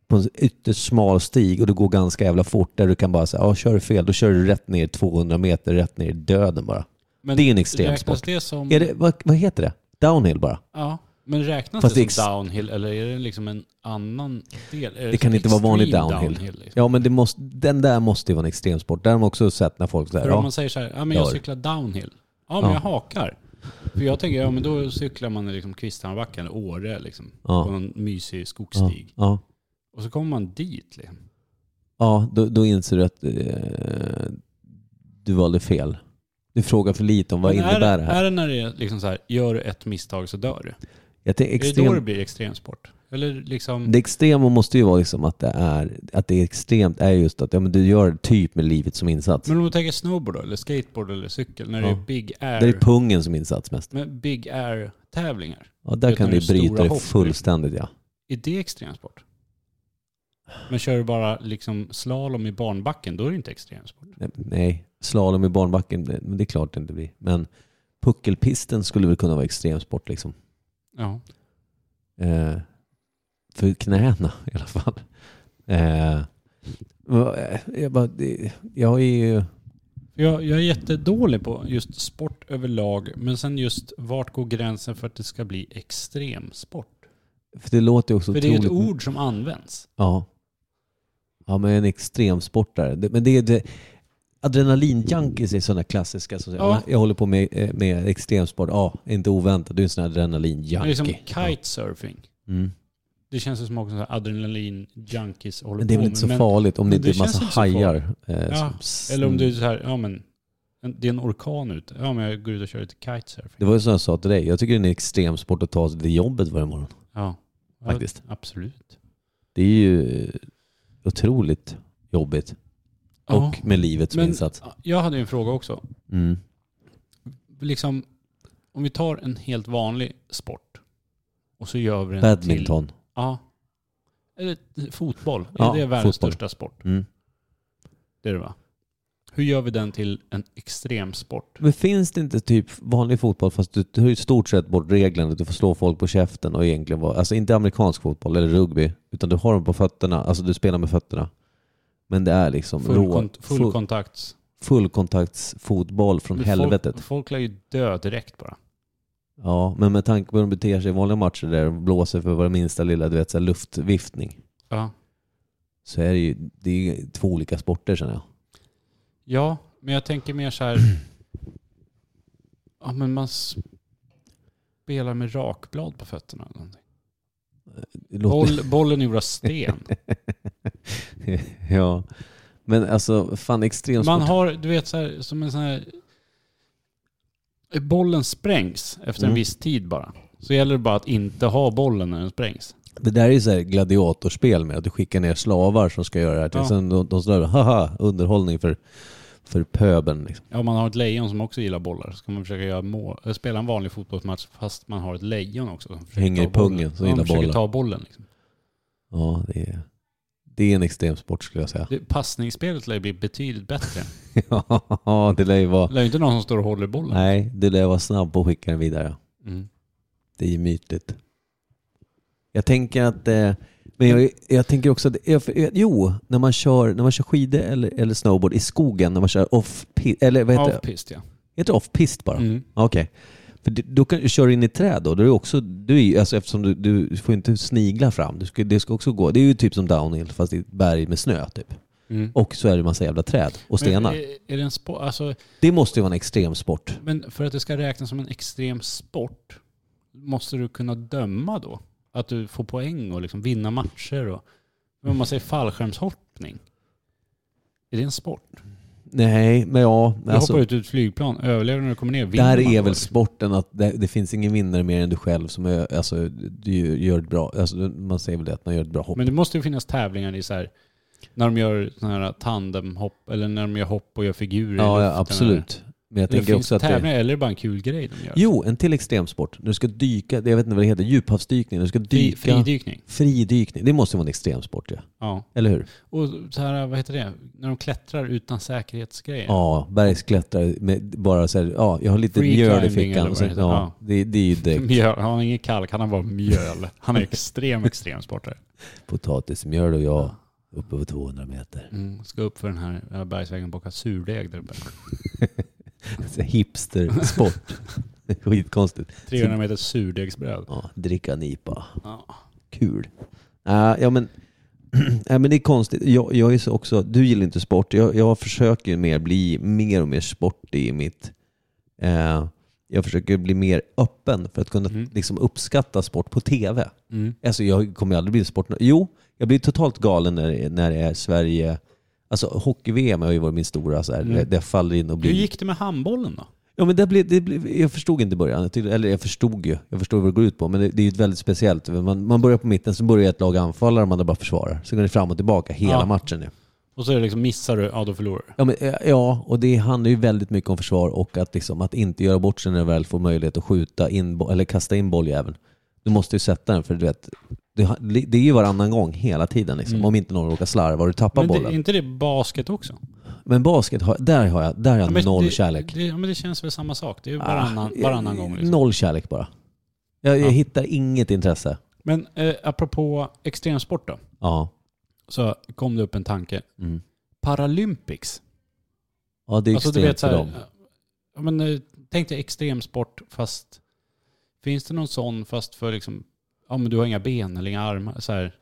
på en ytterst smal stig och du går ganska jävla fort där du kan bara säga, ja kör du fel då kör du rätt ner 200 meter, rätt ner i döden bara. Men Det är en extremsport. Räknas det som, Är det, vad, vad heter det? Downhill bara? Ja. Men räknas Fast det som det ex- downhill eller är det liksom en annan del? Är Det kan som inte vara vanlig extreme downhill. liksom? Ja, men det måste, den där måste ju vara en extremsport. Där har man också sett när folk säger För om ja, man säger så här, ja men jag Dör. cyklar downhill. Ja men Ja. jag hakar. För jag tänker, ja men då cyklar man liksom Kvisthammarbacken eller Åre liksom. Ja. På någon mysig ja, skogsstig. ja, Och så kommer man dit liksom. ja då, då inser du att eh, du valde fel. Du frågar för lite om vad Men innebär är, det här. Är det när det är liksom så här, gör du ett misstag så dör du? Jag tänker Är det då det extrem, blir extremsport? Eller liksom, det extrema måste ju vara liksom att, det är, att det är extremt är just att ja, men du gör typ med livet som insats. men om du tänker snowboard då, eller skateboard eller cykel, när det Ja. är big Där är air, pungen som insats mest. men big air tävlingar, Ja, där Vet kan när du det är stora bryta det hopp. fullständigt ja. är det extremsport? Men kör du bara liksom slalom i barnbacken, då är det inte extremsport. Nej, Nej, slalom i barnbacken, det, men det är klart det inte blir. Men puckelpisten skulle väl kunna vara extremsport liksom. Ja. Eh, för knäna i alla fall. Eh, vad- eh, jag, bara, det- jag är ju... Jag, jag är jättedålig på just sport överlag, men sen just vart går gränsen för att det ska bli extremsport? För det låter ju också För det är ju ett otroligt- ord som används. Ja. Ja, men en extremsportare. Det- Men det är det... Adrenalinjunkies är sådana klassiska som säger Ja. "Ah, jag håller på med, eh, med extremsport. Ja, inte oväntat. Du är en sån här Men adrenalinjunkie. liksom kitesurfing. ja. mm. Det känns ju som också så här adrenalin junkies håller Men det är på väl inte så med. farligt om det men inte det är massa känns inte så hajar. eh, Ja, som- Mm. Eller om du är så här, ja men en- det är en orkan ute. Ja men jag går ut och kör lite kitesurfing. Det var ju som jag sa till dig, jag tycker det är en extrem sport att ta sig till jobbet varje morgon. Ja. Ja, Faktiskt. Absolut. Det är ju eh, otroligt jobbigt. Ja. Och med livet som Men insats. jag hade ju en fråga också. Mm. liksom, om vi tar en helt vanlig sport och så gör vi den till... Badminton. Ja. Eller fotboll. Ja, är det världens fotboll. största sport? Mm. Det är det va? Hur gör vi den till en extremsport? Men finns det inte typ vanlig fotboll fast du tar ju i stort sett bort reglerna att du får slå folk på käften och egentligen vara, alltså inte amerikansk fotboll eller rugby, utan du har dem på fötterna, alltså du spelar med fötterna. Men det är liksom Full, rå, kont- full full- kontakt. fullkontaktsfotboll från helvetet. Folk, folk lär ju dö direkt bara. Ja, men med tanke på hur de beter sig i vanliga matcher där de blåser för vad det minsta lilla, du vet, så här luftviftning, Ja. så är det ju, det är ju två olika sporter känner jag. ja, men jag tänker mer så här... Ja, men man spelar med rakblad på fötterna. Eller någonting. Det låter- Boll, bollen är gjord av sten. [laughs] ja. Men alltså, fan extremsport. Man har, du vet, så här, som en sån här... Bollen sprängs efter en Mm. viss tid bara. Så gäller det bara att inte ha bollen när den sprängs. Det där är ju så här gladiatorspel med att du skickar ner slavar som ska göra det här. Till. Ja. Sen de, de står där haha, underhållning för, för pöben. Liksom. Ja, om man har ett lejon som också gillar bollar så kan man försöka göra mål, äh, spela en vanlig fotbollsmatch fast man har ett lejon också. Som försöker Hänger ta i pungen bollen. som Ja, gillar de försöker bollar. ta bollen. Liksom. Ja, det är, det är en extremsport skulle jag säga. [laughs] Det, passningsspelet lär ju bli betydligt bättre. Ja, det lär ju Det vara... lär ju inte någon som står och håller bollen. Nej, det lär vara snabb på att skicka den vidare. Mm. Det är ju mytigt. Jag tänker att... Eh, men jag, jag tänker också att... jag- för- Jo, när man kör, när man kör skidor eller, eller snowboard i skogen, när man kör off... Eller vad heter det? Off-pist ja. Heter det off-pist bara? Mm. Okej. För du, då kan, kör du in i träd då? då är det också, du är, ju- alltså eftersom du, du får inte snigla fram. Du ska, det ska också gå. Det är ju typ som downhill fast i ett berg med snö typ. Mm. Och så är det en massa jävla träd och stenar. Men, eh, är, är det en sport? Alltså, det måste ju vara en extrem sport. men för att det ska räknas som en extrem sport måste du kunna döma då? Att du får poäng och liksom vinna matcher och... Men om man säger fallskärmshoppning, är det en sport? Nej, men ja. Du hoppar ut ur ett flygplan, överlever när du kommer ner, vinner Alltså- där man är då, väl liksom. sporten att det, det finns ingen vinnare mer än du själv som är, alltså, du gör ett bra, alltså, man säger väl det att man gör ett bra hopp. Men det måste ju finnas tävlingar i så här, när de gör sådana här tandemhopp, eller när de gör hopp och gör figurer. i ja, ja, luften. absolut. Men jag Det tänker finns också att det, tävlingar, eller är det bara en kul grej de gör. Jo, en till extremsport. När du ska dyka, jag vet inte vad det heter, djuphavsdykning. När du ska Fri, dyka. fridykning. Fridykning, det måste vara en extremsport ja. Ja. Eller hur? Och så här, vad heter det, när de klättrar utan säkerhetsgrejer. Ja, bergsklättrare med bara så här, ja, jag har lite Free mjöl i climbing eller fickan. vad Och sen, det heter. ja, det, det är ju direkt [laughs] Mjöl, han har ingen kalk, han har bara mjöl. Han är extrem, extrem sportare. potatismjöl och jag uppe på 200 meter. Mm, ska upp för den här eh, bergsvägen och baka surdeg där uppe. Så Hipstersport. [laughs] Skitkonstigt. 300 meter surdegsbröd. Ja, dricka en IPA. Ja. Kul. Äh, ja, men, [clears throat] nej, men det är konstigt. Jag, jag är så också, du gillar inte sport. Jag, jag försöker ju mer bli mer och mer sportig i mitt... Eh, jag försöker bli mer öppen för att kunna Mm. liksom, uppskatta sport på TV. Mm. Alltså jag kommer ju aldrig bli sport... Jo, jag blir totalt galen när, när det är Sverige... Alltså hockey-VM har ju varit min stora, så här, Mm. där- där jag faller in och Hur blir... gick det med handbollen då? Ja, men det blev, det blev, jag förstod inte i början. Jag tyckte- Eller jag förstod ju. Jag förstod vad det går ut på. Men det, det är ju ett väldigt speciellt. Man, man börjar på mitten, så börjar ett lag anfalla och man bara försvarar. Så går det fram och tillbaka hela Ja. matchen. Nu. Och så är det liksom, missar du, ja då förlorar du. Ja, men, eh, ja, och det handlar ju väldigt mycket om försvar och att, liksom, att inte göra bort sig när du väl får möjlighet att skjuta in bo- eller kasta in bolljäveln. Du måste ju sätta den för du vet, det, ha- det är ju varannan gång hela tiden. Liksom, Mm. Om inte någon råkar slarva och du tappar Men det, bollen. är inte det basket också? Men basket, har, där har jag, där har Ja, jag men noll det, kärlek. Det, ja, men det känns väl samma sak. Det är ju Ah, varannan, varannan gång. Liksom. Noll kärlek bara. Jag, jag Ja. hittar inget intresse. Men eh, apropå extremsport då, Ja. så kom det upp en tanke. Mm. Paralympics. Ja, det är Alltså, extremt du vet, så för här, dem. ja, men, eh, tänk dig extremsport fast... Finns det någon sån fast för liksom... Ja men du har inga ben eller inga armar. Så här.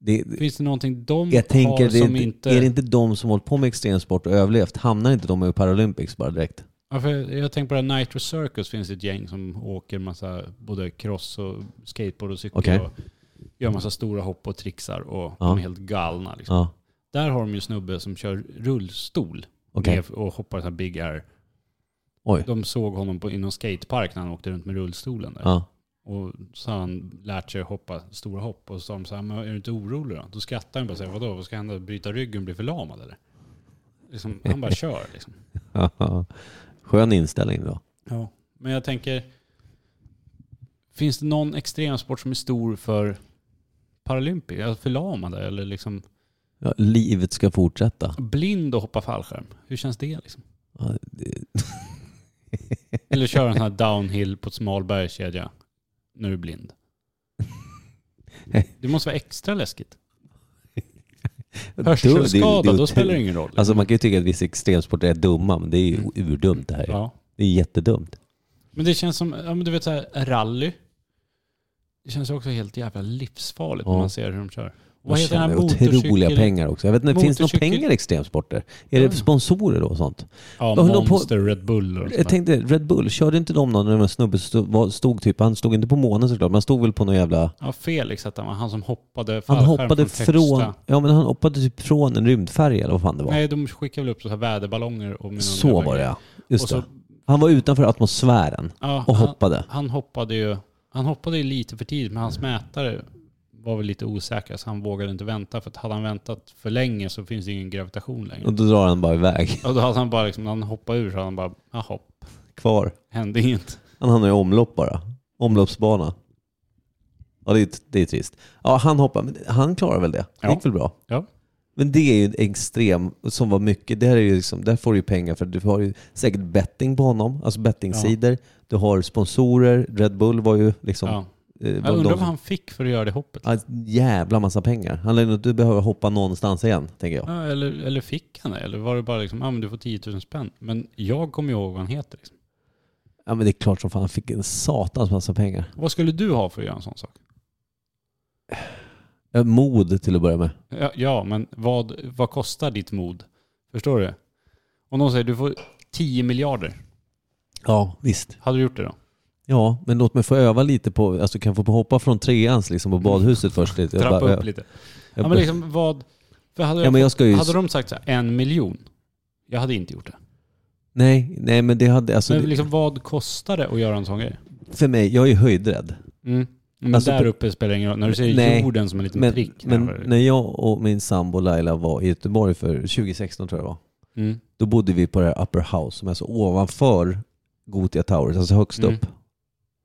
Det, det- Finns det någonting de jag har tänker, det, som är inte, inte... är det inte de som hållit på med extremsport och överlevt? Hamnar inte de i Paralympics bara direkt? Ja, för jag, jag tänker på det här Nitro Circus finns det ett gäng som åker massa både cross och skateboard och cykel Okej. och gör massa stora hopp och trixar och Ja. de är helt galna. Liksom. Ja, Där har de ju snubbe som kör rullstol okej. med- och hoppar så här big air. Oj. De såg honom på, i någon skatepark när han åkte runt med rullstolen där. Ja. Och så har han lärt sig att hoppa stora hopp och så sa de så här, men är du inte orolig då? Då skrattar han bara och säger, vadå, vad ska hända? Bryta ryggen, [laughs] bli förlamad eller? Liksom, han bara kör liksom. Skön inställning då. Ja. Men jag tänker, finns det någon extremsport som är stor för Paralympic? Alltså förlamade eller liksom Ja, livet ska fortsätta. blind och hoppa fallskärm? Hur känns det liksom? Ja, det- [laughs] Eller köra en sån här downhill på ett smal bergskedja när du [laughs] är blind? Det måste vara extra läskigt. Det- det- Hörselskada, det- då spelar det ingen roll. Alltså man kan ju tycka att vissa extremsporter är dumma, men det är ju urdumt det här. ja. Det är jättedumt. Men det känns som, ja men du vet så här, rally. Det känns också helt jävla livsfarligt när Ja. man ser hur de kör. Man Vad heter den här tjänar otroliga motorcykeln? pengar också. Jag vet inte, finns det några Motorcykel- pengar i extremsporter? Är det Ja. sponsorer då och sånt? Ja, Vad höll de på- Monster, Red Bull och Jag sånt där. tänkte, Red Bull, körde inte de någon när det var en snubbe som stod, var- stod typ, han stod inte på månen såklart, men han stod väl på någon jävla... Ja, Felix hette han, han som hoppade Han fallskärm hoppade från från, högsta. ja men han hoppade typ från en rymdfärja eller vad fan det var. Nej, de skickade väl upp så här väderballonger och med så var det ja. Just Och så- det. Han var utanför atmosfären ja. och han, hoppade. han hoppade ju han hoppade ju lite för tidigt, men hans mätare var väl lite osäker, så han vågade inte vänta. För att hade han väntat för länge så finns det ingen gravitation längre. Och då drar han bara iväg, [laughs] Och då hade han bara liksom, när han hoppade ur så hade han bara, jaha, kvar. hände inget. Han hamnar i omlopp bara. Omloppsbana. Ja, det är, det är trist. Ja, han hoppar, men han klarar väl det? Det Ja. gick väl bra? Ja. Men det är ju en extrem, som var mycket, det här är ju liksom, där får du ju pengar för du har ju säkert betting på honom, alltså bettingsidor. Du har sponsorer, Red Bull var ju liksom... Ja. eh, var Jag undrar de- vad han fick för att göra det hoppet. Ja, en jävla massa pengar. Han lär ju inte behöva hoppa någonstans igen, tänker jag. Ja, eller, eller fick han det? Eller var det bara liksom, ja men du får 10 000 spänn. Men jag kommer ju ihåg vad han heter. Liksom. Ja, men det är klart som fan, han fick en satans massa pengar. Vad skulle du ha för att göra en sån sak? Eh, Mod till att börja med. Ja, ja men vad, vad kostar ditt mod? Förstår du? Om någon säger du får 10 miljarder, Ja, visst. hade du gjort det då? Ja, men låt mig få öva lite på, alltså kan jag få på- hoppa från treans liksom på badhuset först lite. Mm. Trappa bara, upp lite. jag, Ja men liksom vad, för hade, ja, men jag ska ju, jag, hade de sagt så här, en miljon, jag hade inte gjort det. nej, nej men det hade, alltså, Men det- liksom vad kostar det att göra en sån grej? för mig, jag är höjdrädd. Mm. Men Alltså, där på- uppe spelar det ingen roll. När du säger Nej. jorden som en liten Men, prick. men där, när jag och min sambo Laila var i Göteborg för 2016 tror jag det var, mm. då bodde vi på det här Upper House som är så ovanför Gothia Towers, alltså högst Mm. upp.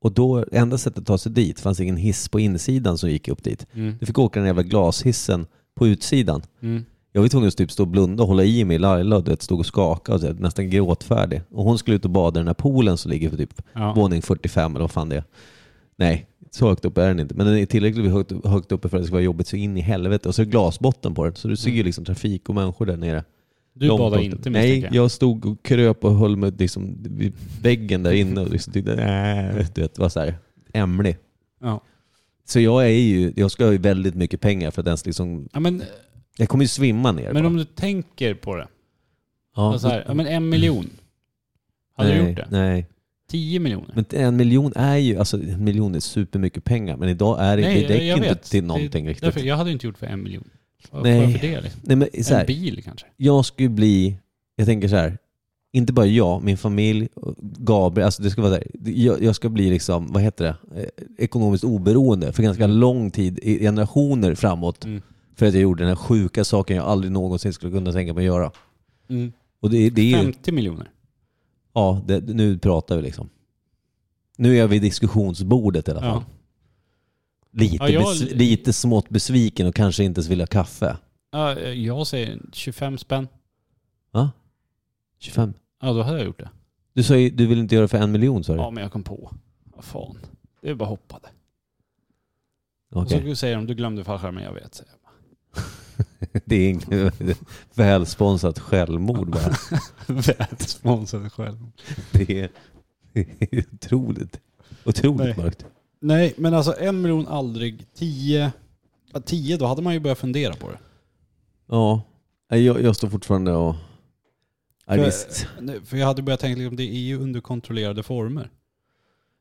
Och då, enda sättet att ta sig dit, fanns ingen hiss på insidan som gick upp dit. Mm. Du fick åka den jävla glashissen på utsidan. Mm. Jag var tvungen att typ stå och blunda och hålla i mig. Laila du vet, stod och skakade och så, här, nästan gråtfärdig. Och hon skulle ut och bada i den här poolen som ligger på typ Ja. våning 45 eller vad fan det är. Nej, så högt upp är den inte. Men den är tillräckligt högt, högt uppe för att det ska vara jobbigt så in i helvete. Och så är det glasbotten på den. Så du ser ju liksom trafik och människor där nere. Mm. Du Långt badar bort. inte Nej, misstänker jag stod och kröp och höll mig liksom vid väggen där inne och liksom tyckte nej, du vet, var så här ämlig. Ja. Så jag är ju, jag ska ha ju väldigt mycket pengar för att ens liksom, Ja, men, jag kommer ju svimma ner. men bara. om du tänker på det. Ja. Så här, ja, men en miljon. Hade nej, du gjort det? Nej. Tio miljoner? Men en miljon är ju, alltså en miljon är supermycket pengar, men idag är det, det räcker inte till någonting det, riktigt. Därför, jag hade inte gjort för en miljon. Varför Nej. varför det? Liksom? Nej men så En här, bil kanske? jag skulle bli, jag tänker så här, inte bara jag, min familj, Gabriel, alltså det ska vara så här, jag, jag ska bli liksom, vad heter det, Eh, ekonomiskt oberoende för ganska lång tid, i generationer framåt, Mm. för att jag gjorde den här sjuka saken jag aldrig någonsin skulle kunna tänka mig att göra. Och det, det är ju, 50 miljoner? ja, det, nu pratar vi liksom. Nu är vi vid diskussionsbordet i alla fall. Ja. Lite, Ja, jag- bes- lite smått besviken och kanske inte ens vill ha kaffe. Ja, eh, jag säger 25 spänn. 25. Ja, då hade jag gjort det. Du sa ju, du vill inte göra det för en miljon sa du? Ja, men jag kom på. Vad fan. Det är bara hoppade. Okej. Och så säger de, du glömde fallskärmen, jag vet. Säger jag. Det är inget [laughs] välsponsrat självmord [laughs] bara. Väl sponsrad själv. Det är, det är otroligt, otroligt Nej. mörkt. Nej, men alltså en miljon aldrig. Tio. Ja, tio, då hade man ju börjat fundera på det. Ja, Nej, jag, jag står fortfarande och... Ja, För- visst. Nej, För jag hade börjat tänka, liksom, det är ju under kontrollerade former.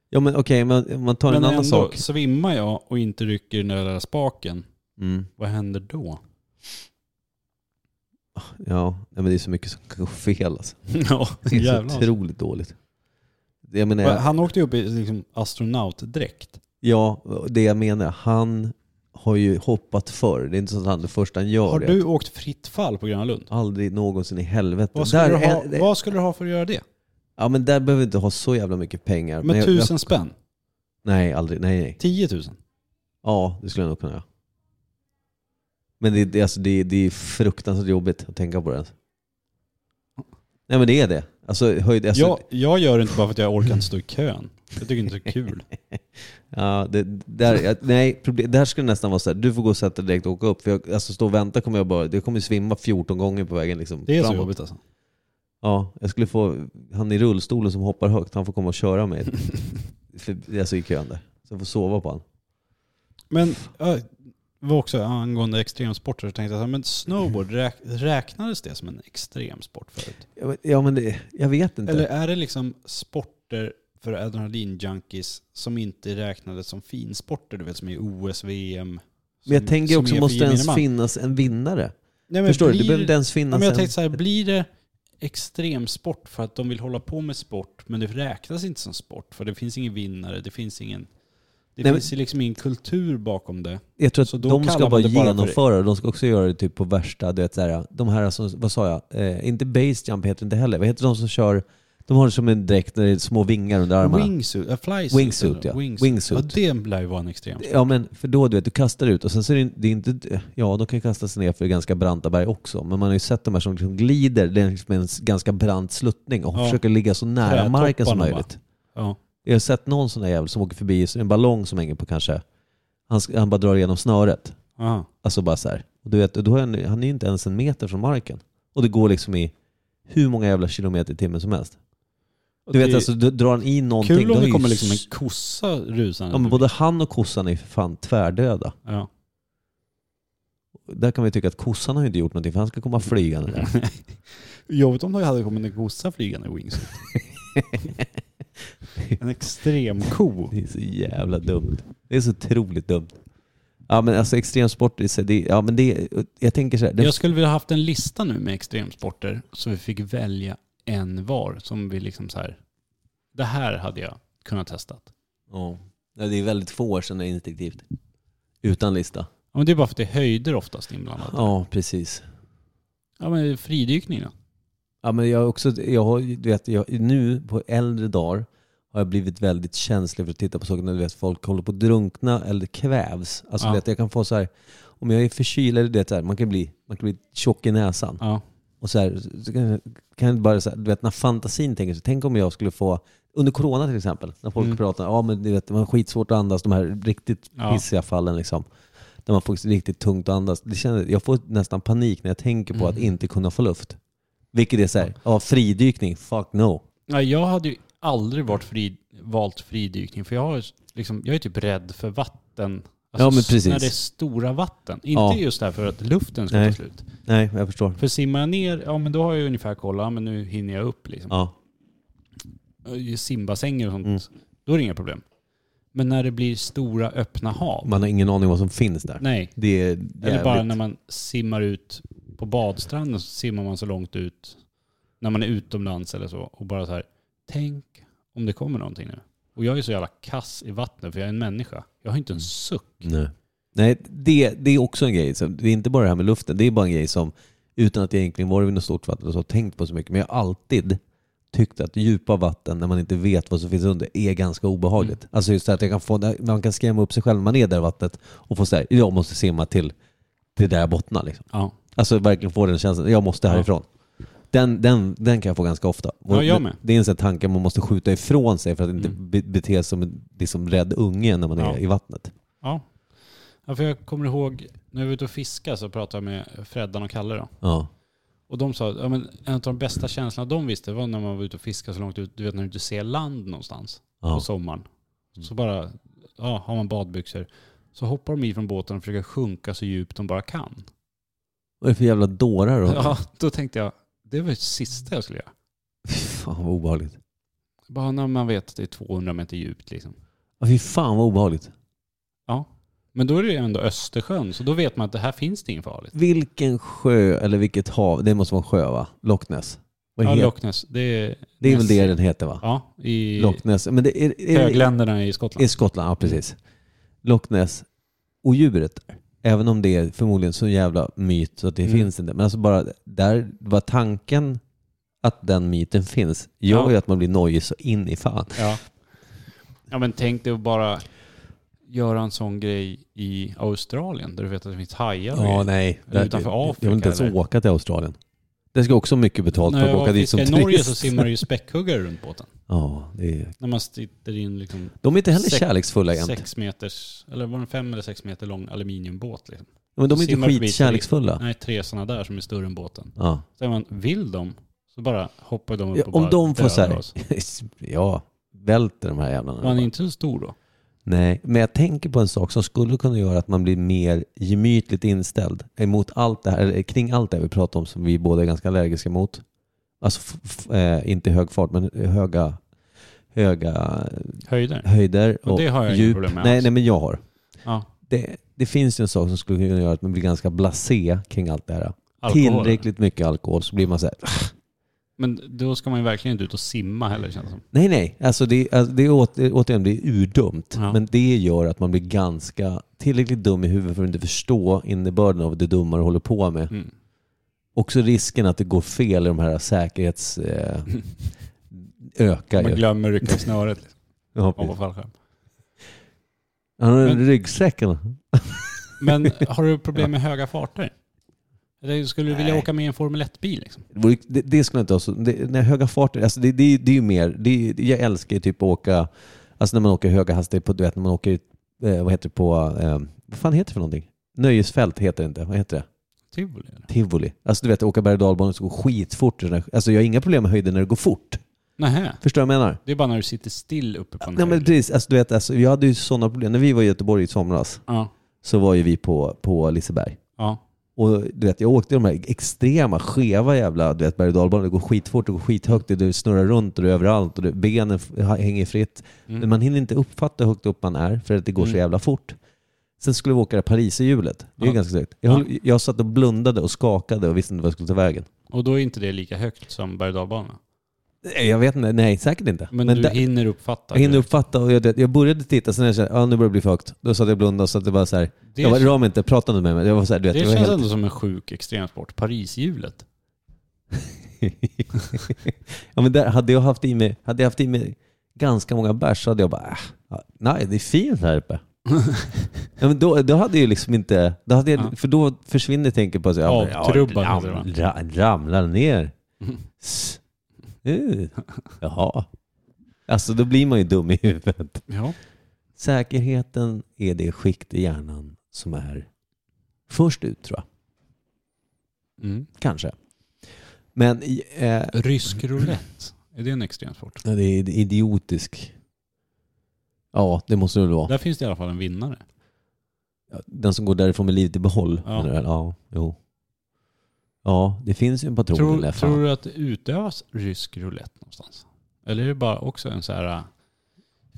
Ja men okej, men om man tar en men annan ändå, sak. svimmar jag och inte rycker i den där lilla spaken, Mm, vad [laughs] händer då? ja, Nej, men det är så mycket som kan gå fel [laughs] alltså. ja, Det är så otroligt dåligt. Jag menar, jag- alltså. Han åkte ju upp i liksom, astronautdräkt. Ja, det jag menar, han har ju hoppat förr. Det är inte så att han det första han gör Har det. du åkt fritt fall på Gröna Lund? Aldrig någonsin i helvete. Vad skulle, Där du ha, är- vad skulle du ha för att göra det? Ja men där behöver vi inte ha så jävla mycket pengar. Men Men jag- tusen spänn? Jag, nej, aldrig. Nej, nej. 10 000? Ja, det skulle jag nog kunna göra. Men det, det, alltså, det, det är fruktansvärt jobbigt att tänka på det. ens. Nej men det är det. Alltså, höjd, alltså, Jag, jag gör det inte bara för att jag orkar inte stå i kön. Jag tycker inte det [laughs] är kul. Ja, det, där, jag, nej, problem, där skulle det nästan vara så här, du får gå och sätta dig direkt och åka upp. För jag, alltså stå och vänta kommer jag bara, jag kommer svimma 14 gånger på vägen liksom. Det är så framåt. jobbigt alltså. Ja, jag skulle få, han i rullstolen som hoppar högt, han får komma och köra [laughs] mig. för, alltså i kön där. Så jag får sova på han. Men ja, det var också angående extremsporter så tänkte jag så här, men snowboard, räk, räknades det som en extremsport förut? Ja men, ja, men det, jag vet inte. Eller är det liksom sporter för adrenalinjunkies som inte räknades som finsporter, du vet som i OS, VM? men jag som- tänker som också, är måste det gemene ens man? finnas en vinnare? Nej, Förstår du? Det blir- behöver inte ens Ja, finnas men jag en... tänkte så här, blir det extremsport för att de vill hålla på med sport men det räknas inte som sport för det finns ingen vinnare, det finns ingen... Det Nej, men- finns ju liksom ingen kultur bakom det. Jag tror Så att då de kallar ska man bara det bara för- genomföra det. De ska också göra det typ på värsta, du vet såhär, de här som, vad sa jag, eh, inte base jump heter det inte heller. Vad heter de som kör, de har det som en dräkt när det är små vingar under armarna. Wingsuit, äh, flysuit. Wingsuit, eller- ja. Wingsuit. Wingsuit. Ja, det lär ju vara en extrem. Ja men för då du vet, du kastar ut och sen så är det, det är inte, ja de kan ju kasta sig ner för ganska branta berg också. Men man har ju sett de här som liksom glider längs med en s- ganska brant sluttning och Ja. försöker ligga så nära Trädtopparna marken som bara. möjligt. Ja. Jag har sett någon sån där jävel som åker förbi, så är det en ballong som hänger på kanske, han, sk- han bara drar igenom snöret. Aha. Alltså bara så här. Och du vet, och då är han, han är ju inte ens en meter från marken. Och det går liksom i hur många jävla kilometer i timmen som helst. Du vet Det är alltså, du, drar han i någonting. Kul då om är det ju kommer s- liksom en kossa rusande. Ja men både han och kossan är ju för fan tvärdöda. Ja. [laughs] Där kan vi tycka att kossan har ju inte gjort någonting för han ska komma flygande där. Jobbigt om det hade kommit en kossa flygande i [laughs] wingsuit. en extrem ko. Det är så jävla dumt. Det är så otroligt dumt. Ja men alltså extremsport, i sig, det, ja men det, jag tänker så här. Det, Jag skulle vilja haft en lista nu med extremsporter så vi fick välja en var som vi liksom så här. Det här hade jag kunnat testat. Ja. Nej, det är väldigt få år sedan det är instinktivt. Utan lista. Ja, men det är bara för att det är höjder oftast inblandat. Ja, precis. Ja men fridykning då? Ja, men jag har också, jag har, ju- du vet, jag, nu på äldre dagar har jag blivit väldigt känslig för att titta på saker när du vet, folk håller på att drunkna eller kvävs. Alltså, Ja. du vet, jag kan få så här, om jag är förkyld, du vet, så här, man, kan bli, man kan bli tjock i näsan. Ja. Och så här, så kan, kan jag bara, så här, du vet, när fantasin tänker så, tänk om jag skulle få, under corona till exempel, när folk Mm. pratar, ja men du vet, man har skitsvårt att andas, de här riktigt Ja. pissiga fallen liksom. Där man får riktigt tungt att andas. Det känns, jag får nästan panik när jag tänker på Mm. att inte kunna få luft. Vilket är såhär, ja fridykning, fuck no. Nej, jag hade ju aldrig varit fri, valt fridykning för jag, har, liksom, jag är typ rädd för vatten. Alltså, Ja, men s- precis. När det är stora vatten. Inte Ja. just därför att luften ska Nej. ta slut. Nej, jag förstår. För simmar jag ner, ja men då har jag ju ungefär kollat, ja, men nu hinner jag upp liksom. Ja, Mm. I Simbassänger och sånt, då är det inga problem. Men när det blir stora öppna hav, man har ingen aning vad som finns där. nej. Det är Eller bara jävligt- när man simmar ut på badstranden så simmar man så långt ut när man är utomlands eller så och bara så här, tänk om det kommer någonting nu. Och jag är så jävla kass i vattnet för jag är en människa. Jag har Mm. inte en suck. Nej, Nej det, det är också en grej. Så Det är inte bara det här med luften. Det är bara en grej som, utan att jag egentligen varit vid något stort vatten och så, tänkt på så mycket. Men jag har alltid tyckt att djupa vatten, när man inte vet vad som finns under, är ganska obehagligt. Mm. Alltså just det här att jag kan få, man kan skrämma upp sig själv när man är där i vattnet och få säga jag måste simma till det där jag bottnar. Liksom. Ja, Alltså verkligen få den känslan, jag måste Ja. härifrån. Den, den, den kan jag få ganska ofta. Ja, jag med. Det är en sån här tanke man måste skjuta ifrån sig för att inte Mm. be- bete sig som en liksom, rädd unge när man är Ja. i vattnet. ja. ja för jag kommer ihåg när jag var ute och fiskade så pratade jag med Freddan och Kalle då. Ja. Och de sa att ja, men en av de bästa känslorna de visste var när man var ute och fiskade så långt ut, du vet när du inte ser land någonstans. Ja. Mm. på sommaren. Så bara, ja, har man badbyxor. Så hoppar de i från båten och försöker sjunka så djupt de bara kan. Vad är det för jävla dårar då? Ja, då tänkte jag, det var det sista jag skulle göra. Fy fan vad obehagligt. Bara när man vet att det är 200 meter djupt liksom. Ja, Fy fan vad obehagligt. Men då är det ju ändå Östersjön, så då vet man att det här finns det inget farligt. Vilken sjö, eller vilket hav, det måste vara en sjö va? Loch Ness. Vad Ja, heter- Loch Ness, det är... det är väl Ness. det den heter va? Ja, i Loch Ness. Men det är, är, är, högländerna i i Skottland. Skottland, ja precis. Loch Ness, odjuret. Även om det är förmodligen så jävla myt så att det Mm. finns inte. Men alltså bara, där var tanken att den myten finns gör Ja. ju att man blir nojig så in i fan. Ja. ja men tänk dig att bara göra en sån grej i Australien där du vet att det finns hajar och Ja, grejer. nej. Eller utanför Jag vill inte Afrika, ens eller? åka till Australien. Det ska också mycket betalt När för jag att åka var dit som fiskade i turist. Norge så simmar det ju späckhuggare runt båten. Ja, det är... När man sitter i en liksom De är inte heller Sex- kärleksfulla egentligen. sex meters, eller var det en fem eller sex meter lång aluminiumbåt. Liksom. Men de är inte simmar förbi skitkärleksfulla. Nej, tre sådana där som är större än båten. Ja. Så är man, vill de så bara hoppar de upp Ja, och om bara de får dödar så här- oss. [laughs] ja, välter de här jävlarna. Man är inte så stor då. Nej, men jag tänker på en sak som skulle kunna göra att man blir mer gemytligt inställd emot allt det här, eller kring allt det här vi pratar om som vi båda är ganska allergiska mot. Alltså, f- f- eh, inte i hög fart, men höga, höga Höjder. höjder Och och det har jag inga djup. problem med nej, alls. nej, men jag har. Ja, Det, det finns ju en sak som skulle kunna göra att man blir ganska blasé kring allt det här. alkohol. Tillräckligt mycket alkohol så blir man så här, Men då ska man ju verkligen inte ut och simma heller känns det som. Nej, nej. Alltså det, alltså det är åter, återigen, det är urdumt. Ja. Men det gör att man blir ganska tillräckligt dum i huvudet för att inte förstå innebörden av det dumma du håller på med. Mm. Också risken att det går fel i de här säkerhets... [laughs] Eh, ökar Man ju. glömmer rycka i snöret. Liksom. Ja, Hoppa precis. fallskärm. Han har en Men- ryggsäck eller? Men har du problem med höga farter? Eller skulle du vilja åka med i en Formel 1-bil? Liksom? Det vore- Det, det skulle jag inte ha så... Det, när höga farter, alltså det, det, det är ju mer... Det, är- jag älskar ju typ att åka... Alltså när man åker höga hastigheter på... Du vet när man åker... Eh, vad heter det på... Eh, vad fan heter det för någonting? Nöjesfält heter det inte. Vad heter det? Tivoli? eller? tivoli. Alltså du vet, åka berg och dalbana så går skitfort. Alltså jag har inga problem med höjden när det går fort. Nähä. Förstår du vad jag menar? Det är bara när du sitter still uppe på en Nej men höjd. precis, alltså, du vet, alltså, jag hade ju sådana problem. När vi var i Göteborg i somras Ja, så var ju vi på, på Liseberg. ja. Och du vet, jag åkte de här extrema skeva jävla du vet, berg och dalbanor. Det går skitfort, det går skithögt, det- det snurrar runt och det är överallt och det, benen f- hänger fritt. Men man hinner inte uppfatta hur högt upp man är för att det går så Mm. jävla fort. Sen skulle vi åka det här Pariserhjulet. Det är ju Ja. ganska segt. Jag, höll- jag satt och blundade och skakade och visste inte vad jag skulle ta vägen. Och då är inte det lika högt som berg och dalbana. Nej, Eh, Jag vet inte, nej säkert inte. Men, du där- hinner uppfatta. jag hinner uppfatta och jag, jag började titta, sen när jag kände att ah, nu börjar det bli för högt. Då satt jag och blundade och satt och bara så här, det jag var, det rör mig inte, prata inte med mig. Jag var så här, du vet, jag känns var helt, ändå som en sjuk [laughs] extremsport. Parishjulet. ja, men där hade jag haft i mig, hade jag haft i mig ganska många bärs så hade jag bara, "Ah, ja, nej det är fint här [laughs] uppe. ja, men då, då hade jag ju liksom inte, då hade jag, Ja. för då försvinner tänket på att ja, men, Avtrubbad, alltså. ja, heter ram, ra, ramlar ner. S- Uh, jaha. Alltså då blir man ju dum i huvudet. Ja. Säkerheten är det skikt i hjärnan som är först ut tror jag. Mm. Kanske. Men i- eh, Rysk roulette. Är det en extremsport? det är idiotisk. Ja, det måste det väl vara. Där finns det i alla fall en vinnare. Den som går därifrån med livet i behåll. Ja. menar du väl? ja jo. Ja, det finns ju en patron i Tror, alla fall. tror du att det utövas rysk roulette någonstans? Eller är det bara också en så här äh,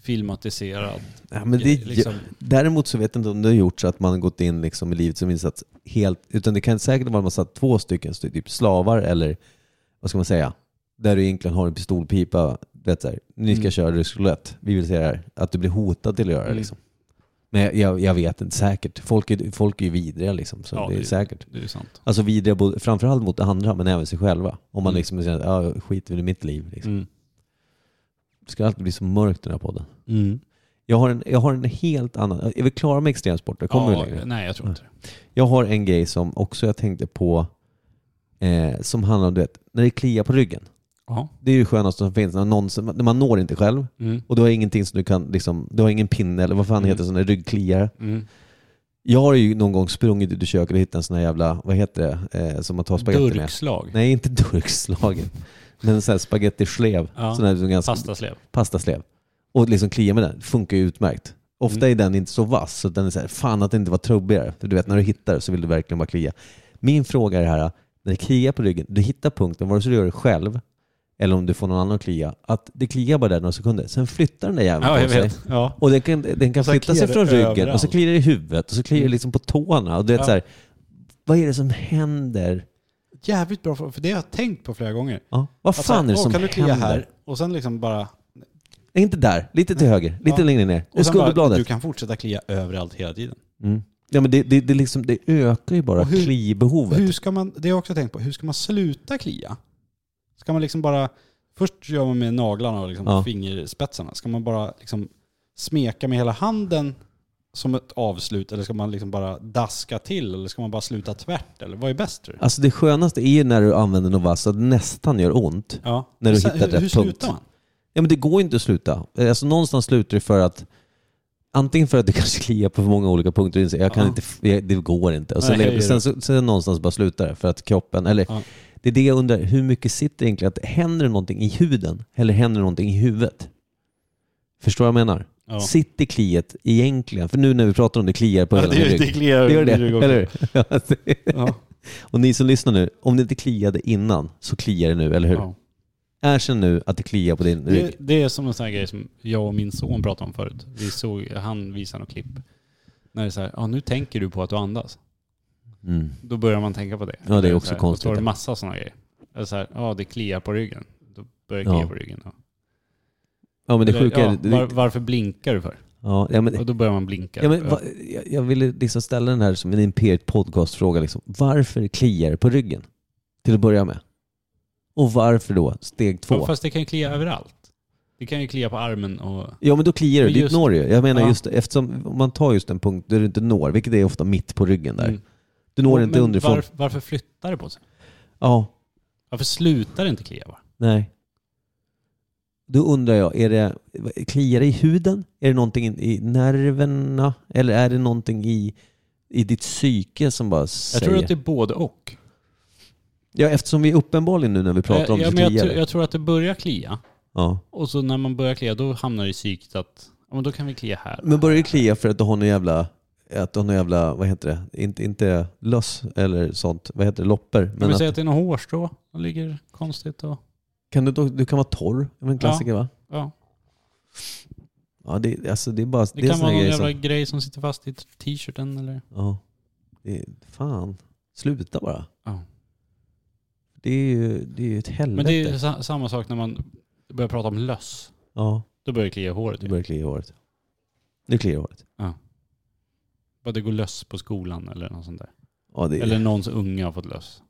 filmatiserad... ja, men det, liksom, Däremot så vet jag inte om det har gjort så att man har gått in liksom i livet som insats helt, utan det kan säkert vara att man satt två stycken st- typ slavar eller vad ska man säga, där du egentligen har en pistolpipa, du vet så här, ni ska Mm. köra rysk roulette, vi vill se det här, att du blir hotad till att göra det Mm. liksom. Men jag, jag, jag vet inte, säkert. Folk är, folk är ju vidriga liksom, så Ja, det är det- säkert. det är sant. Alltså vidriga både, framförallt mot andra men även sig själva. Om man Mm. liksom säger att ah, skit väl i mitt liv. Liksom. Mm. Det ska alltid bli så mörkt i den här podden. Jag har, en, jag har en helt annan, är vi klara med extremsporter? Kommer vi längre? Mm. ja, Nej, jag tror inte det. Jag har en grej som också jag tänkte på eh, som handlar om, du vet, när det kliar på ryggen. Ja. Det är ju skönast som finns, när, någon, som- när man når inte själv Mm. och du har ingenting som du kan, liksom, du har ingen pinne eller vad fan Mm. heter det, sån där ryggkliare. Mm. Jag har ju någon gång sprungit ut i köket och hittat en sån här jävla, vad heter det, eh, som man tar spagetti med? Durkslag. Nej, inte [laughs] durkslagen. men sån här spagettislev. Ja. Sån här som ganska, Pastaslev. pastaslev. Och liksom klia med den, funkar ju utmärkt. Ofta Mm. är den inte så vass, så den är så här, fan att det inte var trubbigare. För du vet, när du hittar så vill du verkligen bara klia. Min fråga är det här, när det kliar på ryggen, du hittar punkten, vare sig du gör det själv eller om du får någon annan att klia, att det kliar bara där några sekunder, sen flyttar den där jäveln Ja, på jag sig. vet. Ja. Och den kan, den kan Så här flytta sig kliar från det ryggen och så överallt. Mm. kliar det i huvudet och så kliar det liksom på tårna. Och du vet Ja. så här, vad är det som händer? Jävligt bra, för för det har jag tänkt på flera gånger. Ja. Vad Alltså, fan är det åh, som kan du klia händer? här? Och sen liksom bara... Nej, Inte där, lite till höger, lite Ja. längre ner. Och Och sen bara, skulderbladet. du kan fortsätta klia överallt hela tiden. Ja, men det, det, det, liksom, det ökar ju bara Och hur- klibehovet. Hur ska man, det har jag också tänkt på, hur ska man sluta klia? Ska man liksom bara, först gör man med naglarna och liksom Ja. fingerspetsarna. Ska man bara liksom smeka med hela handen som ett avslut eller ska man liksom bara daska till eller ska man bara sluta tvärt eller vad är bäst tror du? Alltså det skönaste är ju när du använder något vasst så att det nästan gör ont. Ja. När du Sen- hittar hur, rätt hur slutar punkt. man? Ja, men det går inte att sluta. Eh, Alltså, någonstans slutar det för att antingen för att det [laughs] kanske kliar på för många olika punkter. och inser, Jag kan Ja. inte, f- jag- det går inte. Och sen, Nej, lever- det är sen, det. så- sen någonstans bara slutar det för att kroppen, eller Ja. det är det jag undrar, hur mycket sitter egentligen att händer det någonting i huden eller händer det någonting i huvudet? Förstår vad jag menar? Ja. Sitter kliet egentligen? För nu när vi pratar om det kliar på Ja, hela det, min det, det rygg. kliar Det gör det, i [laughs] ryggen. eller hur? Ja. Och ni som lyssnar nu, om det inte kliade innan så kliar det nu, eller hur? Ja. Erkänn nu att det kliar på din rygg. Det, det är som en sån här grej som jag och min son pratade om förut. Vi såg, han visade något klipp. När det är så här, ja nu tänker du på att du andas. Mm. Då börjar man tänka på det. Ja, det är också så här, konstigt. Då står det massa sådana grejer. Eller så här, ja det kliar på ryggen. Då börjar det Ja. klia på ryggen. Ja. Ja men det Eller, sjuka ja, är... det- var, varför blinkar du för? Ja, ja, men, Och då börjar man blinka. ja, men, va, jag, jag ville liksom ställa den här som en imperiet podcastfråga. Liksom. Varför kliar det på ryggen? Till att börja med. Och varför då? Steg Ja, två. Fast det kan ju klia överallt. Det kan ju klia på armen och... Ja men då kliar det, Men dit just- når du ju. Jag menar Ja. just eftersom om man tar just en punkt där du inte når, vilket är ofta mitt på ryggen där. Mm. Du når Men inte underifrån. Varför, varför flyttar det på sig? Ja, Varför slutar det inte klia bara? nej. Då undrar jag, är det, kliar det i huden? Är det någonting i nerverna? Eller är det någonting i, i ditt psyke som bara säger? Jag tror att det är både och. Ja, eftersom vi uppenbarligen nu när vi pratar om ja, det men jag, kliar tror- det. jag tror att det börjar klia. Ja. Och så när man börjar klia då hamnar det i psyket att ja, men då kan vi klia här. Men börjar det klia för att du har någon jävla, att du har någon jävla, vad heter det, inte, inte löss eller sånt, vad heter det, lopper. Men Men vi att, säger att det är någon hårstrå som ligger konstigt och kan du, då- du kan vara torr, det är en klassiker va? ja. Ja, det, alltså, det är bara Det, är kan såna vara någon grejer jävla grej som sitter fast i t-shirten eller... Ja. Det, är- fan, sluta bara. Ja. Det är ju Mm. det är ju ett helvete. Men det är ju sa- samma sak när man börjar prata om löss. Ja, Då börjar det klia i håret. det ju. börjar klia i håret. Nu kliar i håret. Bara det går löss på skolan eller något sånt där. Ja, det är Eller någons unge har fått löss.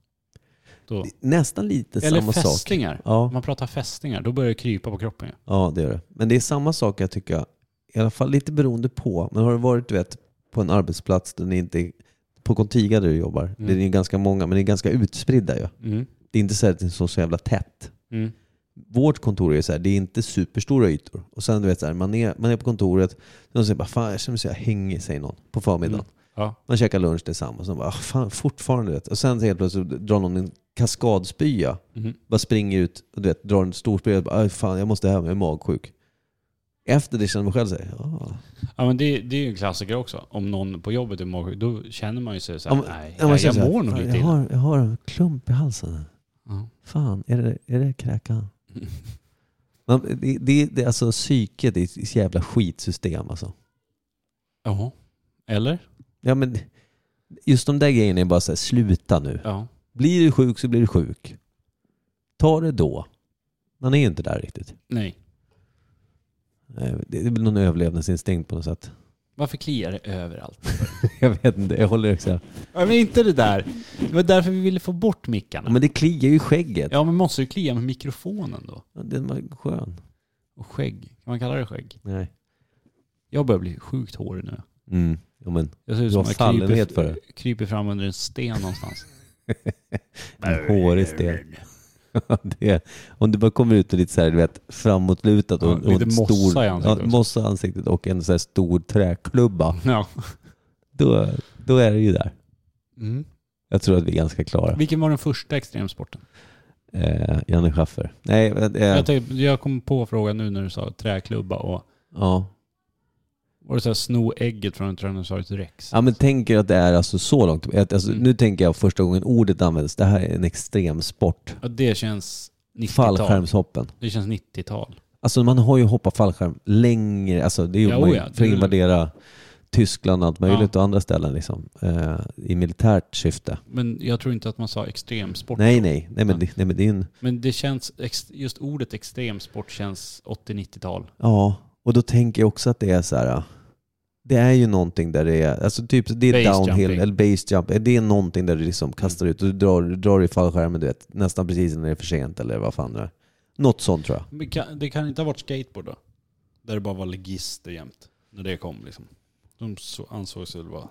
Då. det är nästan lite Eller samma sak. fästingar. Ja. Om man pratar fästingar, då börjar det krypa på kroppen ju. Ja, det gör det. Men det är samma sak jag tycker, i alla fall lite beroende på. Men har du varit du vet, på en arbetsplats där ni inte, på Contiga där du jobbar, Mm. det är ju ganska många, men det är ganska utspridda ju. Mm. Det är inte så, här, att det är så, så jävla tätt. Mm. Vårt kontor är så här, det är inte superstora ytor. Och sen du vet så här, man är, man är på kontoret, och säger bara fan jag känner mig så jag hänger, säger någon på förmiddagen. Mm. Ja. Man käkar lunch tillsammans och bara, "Ah, fan fortfarande rätt. Och sen så helt plötsligt drar någon en kaskadspya. Mhm. Bara springer ut och du vet, drar en stor spya och bara, "Aj, fan jag måste hem, jag är magsjuk. Efter det känner man själv sig, "Ah." ja. Ja men det, det är ju en klassiker också. Om någon på jobbet är magsjuk, då känner man ju sig Ja, såhär, men- nej, ja, man jag, känner jag så här, mår nog "Fan, lite jag illa. har, jag har en klump i halsen. Ja. Fan, är det, är det kräkan? Mm. Man, det, det, det, alltså psyket är ett jävla skitsystem alltså. Jaha. Eller? Ja, men just de där grejerna är bara så här, sluta nu. Ja. Blir du sjuk så blir du sjuk. Ta det då. Man är ju inte där riktigt. Nej. Eh, Det är väl någon överlevnadsinstinkt på något sätt. Varför kliar det överallt? [laughs] Jag vet inte, jag håller också. Ja, men inte det där. Det var därför vi ville få bort mickarna. Men det kliar ju i skägget. Ja men måste ju klia med mikrofonen då. Ja, Den var skön. Och skägg. Kan man kalla det skägg? Nej. Jag börjar bli sjukt hårig nu. Mm. Ja, men Jag ser ut Du har som jag fallenhet för kryper, det. kryper fram under en sten någonstans. [laughs] en hårig sten. [laughs] det, om du bara kommer ut med lite så här, du vet, framåtlutat och, Ja, och lite en mossa stor, i ansiktet ja, också. mossa i ansiktet och en så här stor träklubba, Ja. då, då är det ju där. Mm. Jag tror att vi är ganska klara. Vilken var den första extremsporten? Eh, Janne Schaffer. Nej, eh, Jag, tänkte, jag kom på frågan nu när du sa träklubba och ja. var det så här sno ägget från en Tyrannosaurus rex? ja, men tänker att det är alltså så långt. att- Alltså, Mm. Nu tänker jag första gången ordet används. Det här är en extrem sport. Ja, det känns 90-tal. Fallskärmshoppen. Det känns 90-tal. Alltså man har ju hoppat fallskärm längre. Alltså, det gjorde Ja, man ju oja. för att Det- invadera Tyskland och allt möjligt och andra ställen liksom. Eh, I militärt syfte. Men jag tror inte att man sa extremsport. Nej, nej. Nej men, Ja. det, nej, men det är en... Men det känns, ex- just ordet extremsport känns 80-90-tal. Ja, och då tänker jag också att det är så här. Det är ju någonting där det är, alltså typ det är Base downhill jumping. Mm. eller base jump. Det är någonting där du liksom kastar ut och du drar, du drar i fallskärmen du vet, nästan precis när det är för sent eller vad fan det är. Något sånt tror jag. Men kan, det kan inte ha varit skateboard då? Där det bara var legister jämt. När det kom liksom. De så, ansågs väl vara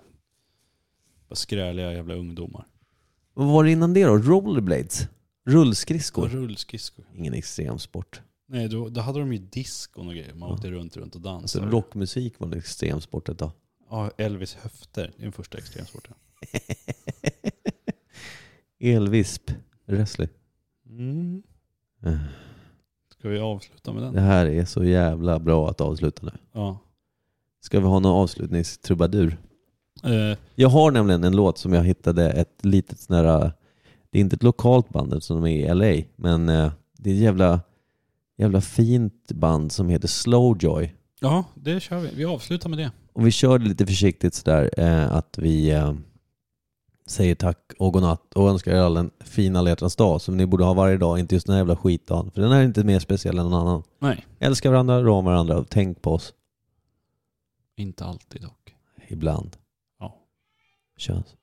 bara skräliga jävla ungdomar. Vad var det innan det då? Rollerblades? Rullskridskor? Och rullskridskor. Ingen extremsport. Nej, då, då hade de ju diskon och grejer. Man åkte runt, runt och Alltså dansade. rockmusik var en extremsport ett tag. [laughs] ja, Elvis höfter. Det är den första extremsporten. Elvisp. Wrestling. Mm. Eh, Ska vi avsluta med den? Det här är så jävla bra att avsluta nu. Ja. Ska vi ha någon avslutningstrubadur? Eh, Jag har nämligen en låt som jag hittade ett litet sån här, det är inte ett lokalt band eftersom de är i LA, men eh, det är ett jävla, jävla fint band som heter Slowjoy. ja, det kör vi. Vi avslutar med det. Och vi kör det lite försiktigt sådär eh, att vi eh, säger tack och godnatt och önskar er alla en fin alla hjärtans dag som ni borde ha varje dag, inte just den här jävla skitdagen. För den här är inte mer speciell än någon annan. Nej, Älska varandra, rå om varandra och tänk på oss inte alltid dock. ibland. Ja. Köns.